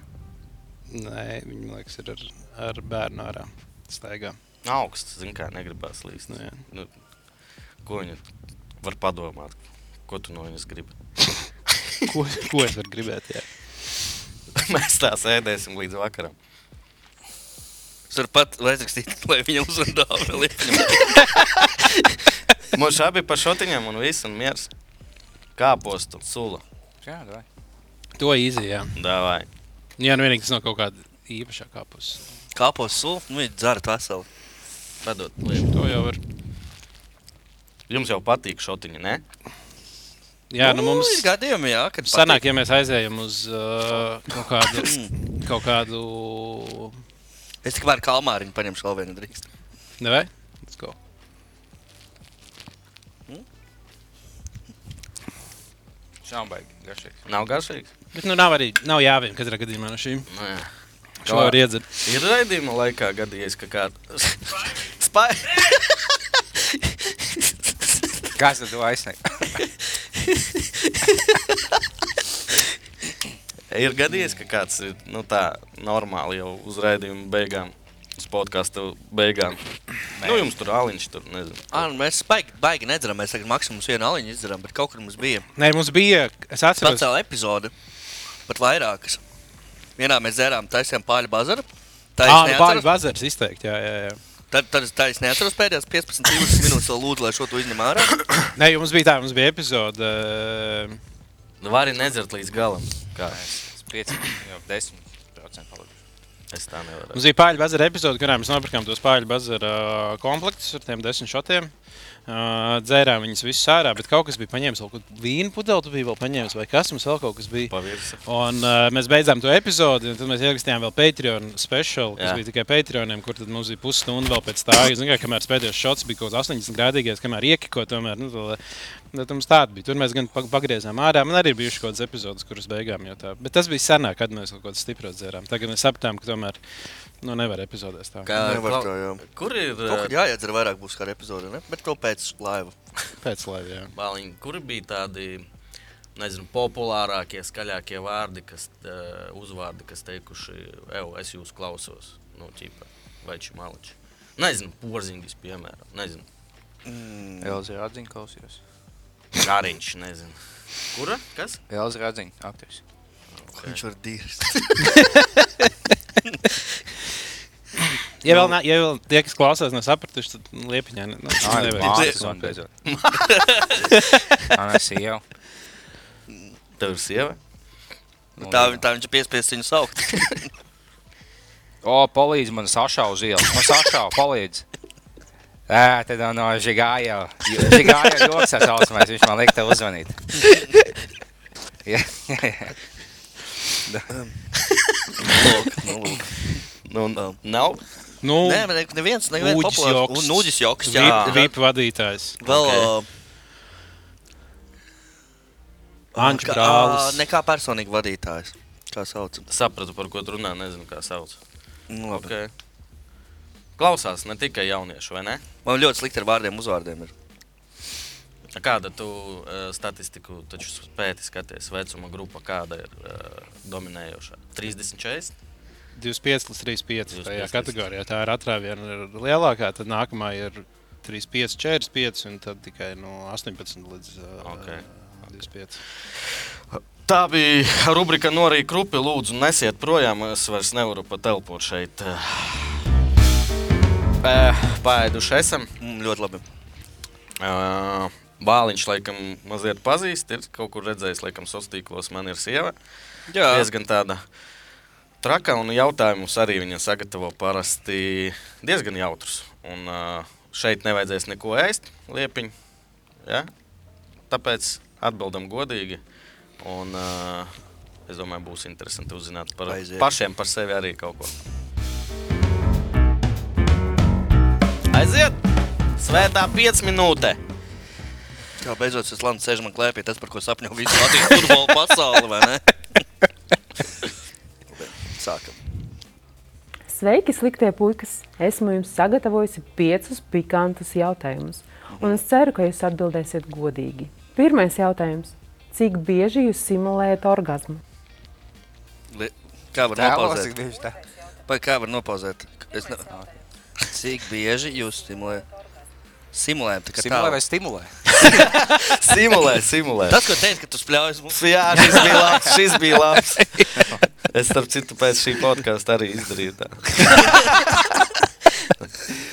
Speaker 4: Nē, viņa man liekas, ir ar, ar bērnu ārā. Staigā.
Speaker 1: Augsts, zin kā, negribas līst.
Speaker 4: Nu, jā.
Speaker 1: Nu, ko viņa var padomāt? Ko tu no viņas gribi?
Speaker 4: Ko, ko es varu gribēt? Jā.
Speaker 1: Mēs tā sēdēsim līdz vakaram.
Speaker 2: Tur pat aizrakstīt, lai viņa uzvārdā.
Speaker 1: Mums abi par šotiņiem un viss ir miers. Kāpos tur sula.
Speaker 3: Jā, nu davai.
Speaker 4: To izjā.
Speaker 1: Davai.
Speaker 4: Jā, nu vienīgi tas nav kaut kāda īpašā kāpus.
Speaker 2: Kāpos sulu, nu viņa dzērta veselu.
Speaker 1: Padod lietu.
Speaker 4: To jau var.
Speaker 1: Jums jau patīk šotiņi, ne?
Speaker 4: Jā, nu mums.
Speaker 2: ir gadījumi, jā, kad
Speaker 4: Sanāk, ja mēs aizējām uz uh, kaut kādu, kaut kādu,
Speaker 2: patīk. Es tikmēr kalmāriņu paņemšu vēl vienu drīkst.
Speaker 4: nevai, let's go.
Speaker 3: Šāmbaigi, garšīgi.
Speaker 1: Nav garšīgs.
Speaker 4: Bet nu nav arī, nav jāvien katrā gadījumā no šīm.
Speaker 1: Nē.
Speaker 4: Šo var iedzert.
Speaker 1: Ir raidījuma laikā gadījies, ka kāds spēj.
Speaker 3: Kāds tad to aizsniegt?
Speaker 1: Ir gadījies, ka kāds ir nu, tā normāli jau uz raidījuma beigām. Uz podkāstu beigām. Nē. Nu, jums tur āliņš tur nezinu.
Speaker 2: Ā, nu mēs baigi, baigi nedzeram, mēs tagad maksimums vienu aliņu izdzeram, bet kaut kur mums bija
Speaker 4: Nē, mums bija, es atceros,
Speaker 2: speciāla epizode, pat vairākas. Vienā mēs dzērām taisnām pāļu bazaru. Tā
Speaker 4: ah,
Speaker 2: es
Speaker 4: nu, Pāļu
Speaker 2: neatceros,
Speaker 4: bazars izteikti, jā, jā, jā.
Speaker 2: tad, tad, es- tā es neatceros pēdējās 15-20 minūtes, vēl lūdzu, lai šo tu izņem ārā.
Speaker 4: Nē, jo mums bija tā, mums bija epizode. eh,
Speaker 1: Vari nedzert līdz galam. Kā
Speaker 3: Es 5, jau 10% palikuši.
Speaker 1: es tā nevaru.
Speaker 4: Mums bija pāri bazara epizode, kurā mēs nopirkām tos pāri bazara komplektus ar tiem desmit šotiem. Uh, dzērām viņas visas ārā, bet kaut kas bija paņēmis, kaut kādu vīnu pudeli tu biji vēl paņēmis, vai kas mums vēl kaut kas bija.
Speaker 1: Pavirsi.
Speaker 4: Un, uh, mēs beidzām to epizodi, un tad mēs ierakstījām vēl Patreon speciālu, kas
Speaker 1: Jā.
Speaker 4: Jā. bija tikai Patreoniem, kur tad mums bija pusstunda vēl pēc tā. Es domāju, kamēr pēdējais šots bija kaut kāds 80 grādīgais, kamēr iekiko tomēr. Nu, tā, Tad mums tāda bija. Tur mēs gan pa- pagriezām ārā. Man arī bija kaut kādas epizodes, kuras beigām jau tā. Bet tas bija senāk, kad mēs kaut kādas stipras dzērām. Tagad mēs sapratām, ka tomēr nu, nevar epizodēs tā.
Speaker 1: Kā,
Speaker 2: Nevar
Speaker 1: klau-
Speaker 2: tā, jā.
Speaker 1: Kur ir?
Speaker 2: Kaut
Speaker 1: ā,
Speaker 2: kad jāiedzer vairāk būs kā ar epizodi, ne? Bet to pēc laiva.
Speaker 4: Pēc laiviem.
Speaker 1: Baliņi, kuri bija tādi nezinu, populārākie, skaļākie vārdi, kas, eh, uzvārdi, kas teikuši, evo, es jūs klausos, nu, tīpa, vai šī maliča. Nezinu, porziņģis, piemēram, nezinu,
Speaker 3: Elza Radziņa klausījos.
Speaker 1: gariņš, nezinu. Kura? Kas?
Speaker 3: Elza Radziņa, aktris.
Speaker 2: Ko viņš var dirst?
Speaker 4: Ja vēl, ne, ja vēl tie, kas klausās, nesapratuši, tad liepiņā ne, nu,
Speaker 3: mākslinieks.
Speaker 4: nevajag.
Speaker 3: un beidzot. Anna sieva.
Speaker 1: Tev ir sieva?
Speaker 2: Nu, tā, vi- tā viņš piespiest viņu saukt.
Speaker 3: O, palīdz man sašau uz ielas. Man sašau, palīdz. Ē, tad no Žigāja. Žigāja joks ar saucamais, viņš man liek tev uzvanīt. Jā, jā, jā.
Speaker 2: Lūk, nu, lūk.
Speaker 1: Nu,
Speaker 2: Nav.
Speaker 1: nav.
Speaker 4: Nu,
Speaker 2: Nē, ne, neviens, neviens
Speaker 4: Uģis
Speaker 2: populārs.
Speaker 4: joks.
Speaker 2: Un Nūģis joks, jā.
Speaker 4: VIP, VIP vadītājs.
Speaker 2: Vēl...
Speaker 1: Ok.
Speaker 2: Okay.
Speaker 4: Ančs brālis.
Speaker 2: Nekā personīgi vadītājs. Kā sauc?
Speaker 1: Sapratu, par ko tu runā, nezinu, kā sauc.
Speaker 2: Nu, labi.
Speaker 1: Okay. Klausās ne tikai jaunieši, vai ne?
Speaker 2: Man ļoti slikti ar vārdiem uzvārdiem ir.
Speaker 1: Kāda tu uh, statistiku taču pēti skaties, vecuma grupa kāda ir uh, dominējošā? 30, 40?
Speaker 4: 25 līdz 35. Tajā
Speaker 1: 25 līdz-
Speaker 4: kategorijā tā ir atrā viena ir lielākā, tad nākamā ir 35, 45 un tad tikai no 18 līdz uh,
Speaker 1: Ok.
Speaker 4: 25.
Speaker 1: Tā bija rubrika Norija Krupi. Lūdzu, nesiet projām. Es vairs nevaru pat telpot šeit. Eh, Paēduši esam.
Speaker 2: Mm, ļoti labi.
Speaker 1: Eh, Bāliņš, laikam, mazliet pazīst. Ir kaut kur redzējis, laikam, sociālos tīklos. Man ir sieva.
Speaker 2: Jā,
Speaker 1: Diezgan tāda traka un jautājumus arī viņa sagatavo parasti diezgan jautrus. Un eh, šeit nevajadzēs neko ēst, liepiņ. Ja? Tāpēc atbildam godīgi. Un, eh, es domāju, būs interesanti uzzināt par
Speaker 2: Aiziet.
Speaker 1: pašiem par sevi arī kaut ko. Aiziet! Svētā 5 minūte!
Speaker 2: kā beidzot šis lants sēž man klēpī, tas, par ko sapņo visu Latvijas futbola pasauli, vai ne? Labi, Sākam.
Speaker 6: Sveiki, sliktie puikas! Esmu jums sagatavojusi piecus pikantus jautājumus, un es ceru, ka jūs atbildēsiet godīgi. Pirmais jautājums - cik bieži jūs simulējat orgasmu?
Speaker 2: Li- Kā var
Speaker 3: Tēlos ir
Speaker 2: nopauzēt?
Speaker 3: bijuši tā.
Speaker 2: Vai kā var nopauzēt? Es ne... Cik bieži jūs simulējat? Simulējam, tā kā
Speaker 3: Simulē vai
Speaker 2: tā.
Speaker 3: stimulē?
Speaker 1: Simulē, simulē!
Speaker 2: Tas, ko teicu, ka tu spļaujies mums.
Speaker 1: Jā, šis bija labs. Šis bija labs. Es starp citu pēc šī podkāsta arī izdarīju tā.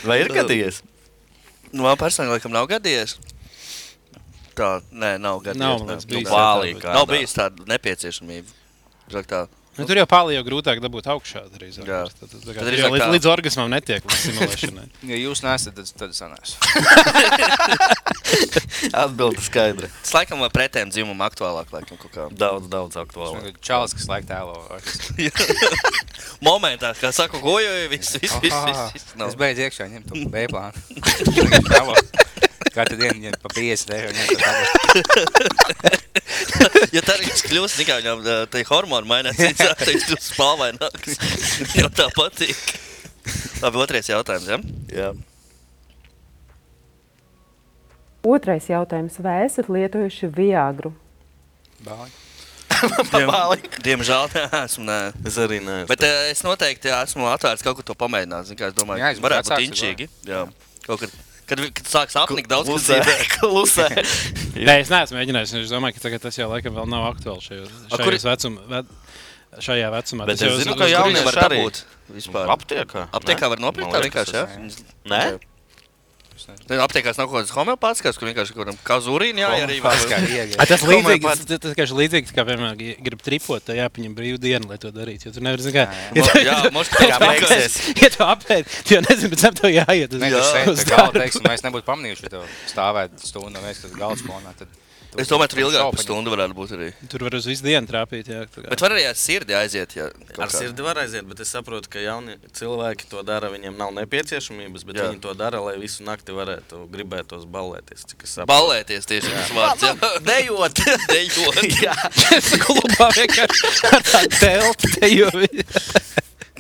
Speaker 1: Vai ir gadījies?
Speaker 2: Nu, man personīgi laikam nav gadījies. Tā, nē, nav gadījies.
Speaker 4: Nav, man liekas,
Speaker 2: nē.
Speaker 4: bijis
Speaker 2: Nu,
Speaker 1: Bālī
Speaker 4: tā,
Speaker 1: kādā.
Speaker 2: Nav bijis tāda nepieciešamība. Žak tā.
Speaker 4: Nu, tur jau pāli jau grūtāk dabūt augšā. Drīzāk,
Speaker 2: Jā.
Speaker 4: Tad- tad- tā
Speaker 2: Tad
Speaker 4: kā tur
Speaker 2: drīzāk
Speaker 4: jau
Speaker 2: tā.
Speaker 4: līdz, līdz orgasmam netiek līdz simulēšanai.
Speaker 3: Ja jūs nesat, tad, tad sanās.
Speaker 1: Atbilde skaidra.
Speaker 2: Tas laikam vai pretējiem dzimumam aktuālāk, laikam, kaut kā.
Speaker 1: Daudz, daudz aktuālāk.
Speaker 3: Čāls, kas laik tēlo. orgasmu.
Speaker 2: Momentā, kā saka, gojoju, viss, viss, viss, viss, viss
Speaker 3: Es
Speaker 2: nav.
Speaker 3: beidzu iekšā ņemt to B plānu. Tagad tēlo. Katru dienu ņemt pa 50 eiro. ņemt to tēlo.
Speaker 2: Ja tā arī kļūst, tikai viņam ā, tie hormoni mainās, tad viņš kļūst spalvaināks. Jau tā patīk. Labi, otrais jautājums, ja?
Speaker 1: Jā.
Speaker 6: Otrais jautājums - vai esat lietojuši viāgru?
Speaker 3: Bāli.
Speaker 2: Diem,
Speaker 1: Bāli.
Speaker 2: diemžēl neesmu, nē.
Speaker 1: Es arī neesmu.
Speaker 2: Bet ā, es noteikti esmu atvērts kaut ko to pamēģināt. Zin, kā es domāju,
Speaker 3: Jā, es būtu
Speaker 2: varētu būt
Speaker 3: vecāks,
Speaker 2: inčīgi. Jā. Kaut kad, kad, vi- kad sāks apnikt daudz, kas
Speaker 1: klusē.
Speaker 2: dzīvē.
Speaker 1: klusē.
Speaker 4: Nē, es neesmu mēģinājis. un Es domāju, ka tagad tas jau laikam vēl nav aktuāli šajos,
Speaker 2: A, kur-
Speaker 4: šajos vecuma, ve, šajā vecumā.
Speaker 1: Bet
Speaker 4: Tas jau
Speaker 1: es
Speaker 4: uz-
Speaker 1: zinu,
Speaker 4: uz
Speaker 1: ka
Speaker 4: kurienes-
Speaker 1: jaunieši
Speaker 2: var
Speaker 1: arī.
Speaker 2: dabūt vispār?
Speaker 1: Aptiekā.
Speaker 2: Aptiekā var nopirkt tā vienkārši, jā?
Speaker 1: Nē?
Speaker 3: Es nezinu.
Speaker 2: Tad aptiekās nav kaut kāds homeopātiskās, kur vienkārši kaut kādam kazūrīnam jāierīvē.
Speaker 3: Homeopātiskā iegriez.
Speaker 4: A, Ah, tas
Speaker 2: Domāju,
Speaker 4: līdzīgi,
Speaker 2: pat-
Speaker 4: tas, tas, tas līdzīgi, kā piemēram, ja grib tripot, tad jāpaņem brīvu dienu, lai to darītu. Jo tur nevar zināt, kā.
Speaker 2: Jā, jā, mums tā kā beigsies.
Speaker 4: Ja tu apēdi, tad jau nezinu, pēc tam tev jāiet. uz-
Speaker 3: Nē, tas ir tā gala teiksim, mēs nebūtu pamanījuši, ja tev stāvētu stundu un mēs tas galds fonā. tad tu-
Speaker 2: Es domāju, tur ilgāk
Speaker 3: šaupaņi.
Speaker 2: par stundu varētu būt arī.
Speaker 4: Tur var uz visu dienu trāpīt. Jā, tā kā.
Speaker 2: Bet var arī ar sirdi aiziet. Jā, kaut
Speaker 1: Ar
Speaker 2: kā.
Speaker 1: sirdi var aiziet, bet es saprotu, ka jauni cilvēki to dara. Viņiem nav nepieciešamības, bet
Speaker 2: Jā.
Speaker 1: jā. viņi to dara, lai visu naktī varētu gribētos ballēties. Cik es saprotu,
Speaker 2: Balēties tieši tas vārds. jā.
Speaker 1: dejot!
Speaker 2: Dejot.
Speaker 1: jā,
Speaker 4: klubā vienkārši ar tādu telpu, te jau ir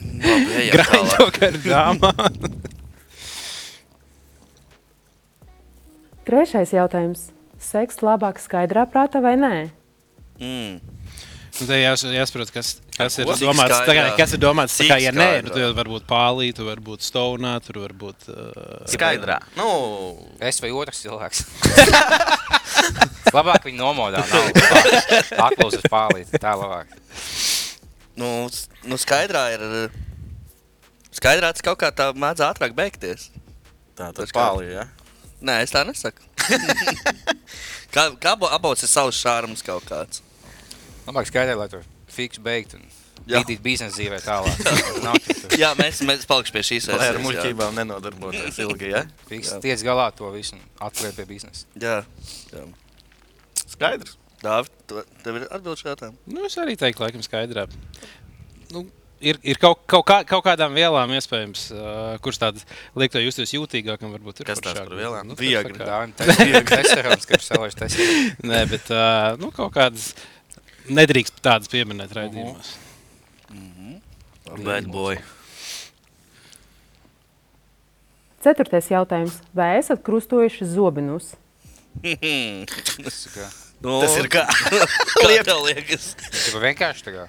Speaker 2: Labi, ejam
Speaker 4: grāmatā, kā ar dāmām.
Speaker 6: Trešais jautājums. Seks labāk skaidrā prāta vai nē?
Speaker 2: Mm.
Speaker 4: Nu, Te jās, jāsaprot, kas, kas ir
Speaker 2: Ko? Cik
Speaker 4: domāts.
Speaker 2: skaidrā?
Speaker 4: Tā kā, kas ir domāts tā kā, ja
Speaker 2: Cik
Speaker 4: nē,
Speaker 2: skaidrā?
Speaker 4: nu, tad var būt pālī, tur var būt stonā, tur var būt. Uh,
Speaker 1: skaidrā. Nu,
Speaker 3: Es vai otrs cilvēks. labāk viņu nomodā. Aklaus uz pālīt, tā labāk.
Speaker 2: Nu, s- nu skaidrā ir. uh, Skaidrā tas kaut kā tā mēdz ātrāk beigties.
Speaker 1: tā
Speaker 2: Tas
Speaker 1: tad
Speaker 2: kā-
Speaker 1: pāli, jā.
Speaker 2: Nē, es tā nesaku. kā kā abo- abos ir savs šārums kaut kāds.
Speaker 3: Labāk skaidrāk, lai tur fiks beigt un
Speaker 2: Jā.
Speaker 3: bīdīt biznesa dzīvē tālāk. Nav tik tur.
Speaker 2: Jā, mēs, mēs paliksim pie šīs
Speaker 1: Lai ar
Speaker 2: versijas, jā.
Speaker 1: muļķībām nenodarbotos ilgi, jā.
Speaker 3: Fiks tiec galā to visu un atliek pie biznesa.
Speaker 2: Jā, jā.
Speaker 1: Skaidrs.
Speaker 2: Dāvid, tu- tev ir atbildi šajā jautājumā.
Speaker 4: nu, es arī teiktu, laikam, skaidrā. Nu, ir ir kaut, kaut, kā, kaut kādām vielām, iespējams, uh, kurš tāds liek to justies jūtīgākam, varbūt ir
Speaker 1: Kas
Speaker 4: foršāk.
Speaker 1: tās par vielām?
Speaker 4: Nu, tas
Speaker 2: Viagra.
Speaker 4: tā kā-
Speaker 3: Tā ir testerons, kurš salaiž testerons.
Speaker 4: Nē, bet uh, nu, kaut kādas nedrīkst tādas pieminēt raidījumos.
Speaker 2: Bad boy.
Speaker 6: Ceturtais jautājums. Vai esat krustojuši zobinus?
Speaker 2: Nu,
Speaker 1: Tas ir kā.
Speaker 2: kā tev liekas.
Speaker 3: Tikai vienkārši tā kā.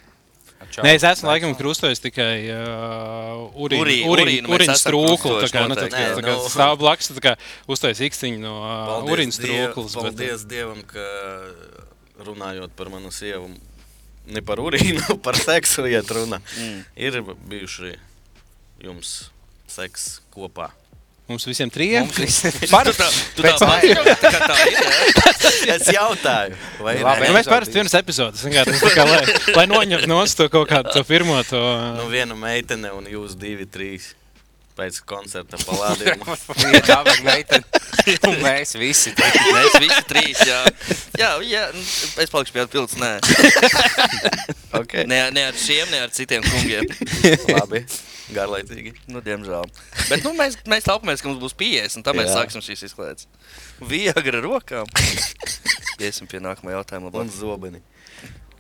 Speaker 3: Atšā-
Speaker 4: Nē, es esmu laikam krustojis tikai uh,
Speaker 2: Urīnu, urīnu
Speaker 4: urīnu urīnu-
Speaker 2: mēs
Speaker 4: urīnu
Speaker 2: esam
Speaker 4: strūklu.
Speaker 2: krustojuši
Speaker 4: Tā kā, nu, tad,
Speaker 2: noteikti,
Speaker 4: kad
Speaker 1: jā.
Speaker 4: tā kā
Speaker 1: Nu.
Speaker 4: stāv blakus, tad tā kā uztais īkstiņu no uh, urīnu strūklas. bet-
Speaker 1: Paldies Dievam, ka runājot par manu sievu, ne par urīnu, par seksu iet runa. Mm. Ir bijuši jums seks kopā.
Speaker 4: Mums visiem trijiem.
Speaker 3: Mums visiem.
Speaker 2: Tu tā, tu tā,
Speaker 3: Pēc
Speaker 2: pati- ka tā ir. jā?
Speaker 1: Es jautāju, vai
Speaker 3: Labi.
Speaker 1: ne?
Speaker 4: Nu, mēs pārspējam vienas epizodes, vienkārši tā kā, lai, lai noņemtu no stūra kaut kādu to pirmo. To,
Speaker 1: Nu, viena meitene un jūs divi, trīs pēc koncerta palādījuma.
Speaker 3: Viņa tā vajag meiteni. Un mēs visi.
Speaker 2: Mēs visi trīs. Jā, jā, jā nu, es palikšu pie atbildības. Nē.
Speaker 1: okay.
Speaker 2: Ne, ne ar šiem, ne ar citiem kungiem.
Speaker 1: Labi, garlaicīgi.
Speaker 2: Nu, diemžēl. Bet nu, mēs, mēs taupamies, ka mums būs 50, un tad mēs
Speaker 1: Jā.
Speaker 2: sāksim šīs izklaides. Viegli ar rokām. Iesim pie nākamā jautājuma.
Speaker 1: Un
Speaker 2: labāk.
Speaker 1: zobeni.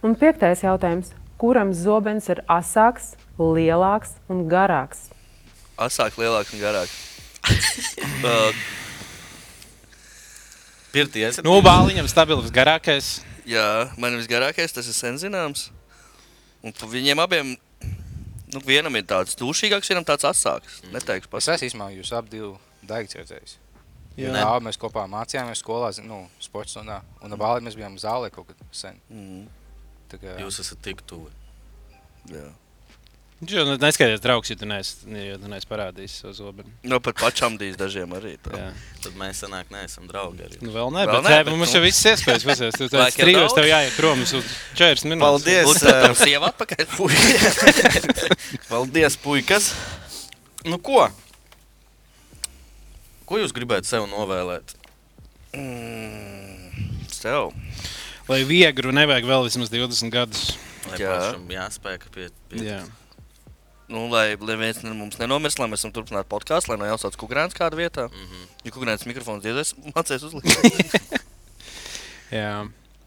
Speaker 6: Un piektais jautājums. Kuram zobens ir asāks, lielāks un garāks?
Speaker 2: Asāk, lielāk un garāk. Uh,
Speaker 1: Pirtī, es
Speaker 4: nu, bāliņam stabils garākais.
Speaker 2: jā, man visgarākais tas ir sen zināms. Un pa viņiem abiem. Nu, vienam ir tāds dušīgāks, vienam tāds asāks. Neteikšu,
Speaker 3: Es
Speaker 2: pats.
Speaker 3: esmu īstenībā jūs abi divi daigcētējs. Jā, jā, mēs kopā mācījāmies skolā, zi- nu, sports stundā. Un ar bāli mēs bijām zālē kaut kad sen.
Speaker 2: Mm,
Speaker 3: Tā kā
Speaker 1: Jūs esat tik tuvi.
Speaker 2: jā.
Speaker 4: Viņš jau neskaidrs nu, draugs, ja tu neesi ja tu neesi parādījis savu zobenu.
Speaker 2: Nu, pat pašam dīz dažiem arī. Tā.
Speaker 4: Jā.
Speaker 1: Tad mēs sanāk, neesam draugi. Arī.
Speaker 4: Nu, vēl nē,
Speaker 2: Vēl
Speaker 4: bet,
Speaker 2: nē,
Speaker 4: nē,
Speaker 2: bet
Speaker 4: bet mums
Speaker 2: nu-
Speaker 4: jau viss iespējas. Pasies, tu tāds
Speaker 2: Laika
Speaker 4: trījos,
Speaker 2: daudz.
Speaker 4: tev jāiet prom uz 40 minūtes.
Speaker 1: Paldies!
Speaker 2: Lūdzu, tā ir sieva atpakaļ.
Speaker 1: Paldies, puikas! Nu, ko? Ko jūs gribētu sev novēlēt?
Speaker 2: Mm, Sev.
Speaker 4: Lai viegru nevajag vēl vismaz 20 gadus.
Speaker 1: Lai
Speaker 2: Jā.
Speaker 1: pašam jāspēka pie, pie
Speaker 4: Jā.
Speaker 2: Nu, lai, lai viens no mums nenomirst, lai mēs varam turpināt podkāstu, lai nejaucās kukurēns kādā vietā. Mm -hmm. Ja kukurēns mikrofons diezvēs, mācēs uzlikt.
Speaker 4: Jā.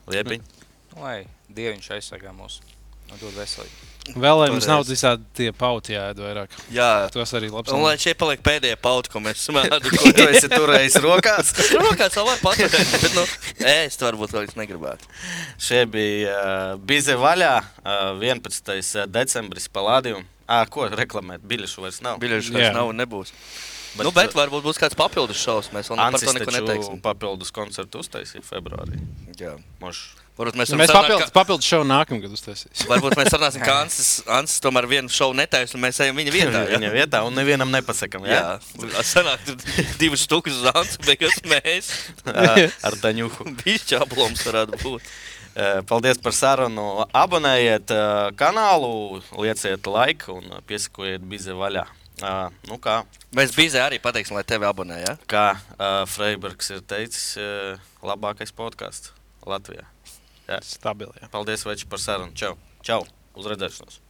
Speaker 1: liepiņa.
Speaker 3: nu, lai Dievs aizsargā mūs un dod veselību.
Speaker 4: Vēl lai mums
Speaker 2: Toreiz.
Speaker 4: nav visādi tie pauti jāēd vairāk.
Speaker 2: Jā.
Speaker 4: Tos arī labi
Speaker 2: Un lai šeit paliek pēdējā pauta, ko mēs esam
Speaker 1: Ko tu
Speaker 2: ēduši.
Speaker 1: esi turējis rokās?
Speaker 2: Rokās vēl var paturēt, bet, nu, ēst varbūt vēl es negribētu.
Speaker 1: Šie bija uh, Bize vaļā uh, 11. decembris palādījumā. Ā, ko reklamēt? Biļešu vairs nav.
Speaker 2: Biļešu
Speaker 4: Jā.
Speaker 2: vairs nav un nebūs. Bet, nu, bet varbūt būs kāds papildus šausmas. Mēs vēl ne- par
Speaker 1: Ancis
Speaker 2: to neko
Speaker 1: eh, taču
Speaker 2: neteiksim.
Speaker 1: papildus koncertu uztaisīja februārī.
Speaker 2: Jā.
Speaker 1: Mož.
Speaker 2: Varbūt mēs,
Speaker 4: Nu, Mēs
Speaker 2: varam sarunāt,
Speaker 4: papildus, papildus šovu nākamgad uztaisīsim.
Speaker 2: Ka... Varbūt mēs runāsim, ka Ansis, Ansis tomēr vienu šovu netaisa, un mēs ejam viņa vietā. jā?
Speaker 1: Viņa vietā un nevienam nepasakām.
Speaker 2: Jā,
Speaker 1: Jā,
Speaker 2: sanāk, tur divas stūkas uz Ansa, beigās mēs
Speaker 1: Ā, ar Daņuhu.
Speaker 2: bišķi aploms varētu būt.
Speaker 1: Ē, Paldies par sarunu. Abonējiet ā, kanālu, lieciet laiku un ā, piesakojiet bizi vaļā. Ā, Nu kā,
Speaker 2: Mēs bizē arī pateiksim, lai tevi abonē, jā?
Speaker 1: kā ā, Freibergs ir teicis, ā, labākais podkāsts Latvijā.
Speaker 4: Stabilajā.
Speaker 1: Paldies, Veči, par sarunu. Čau! Čau! Uz redzēšanos!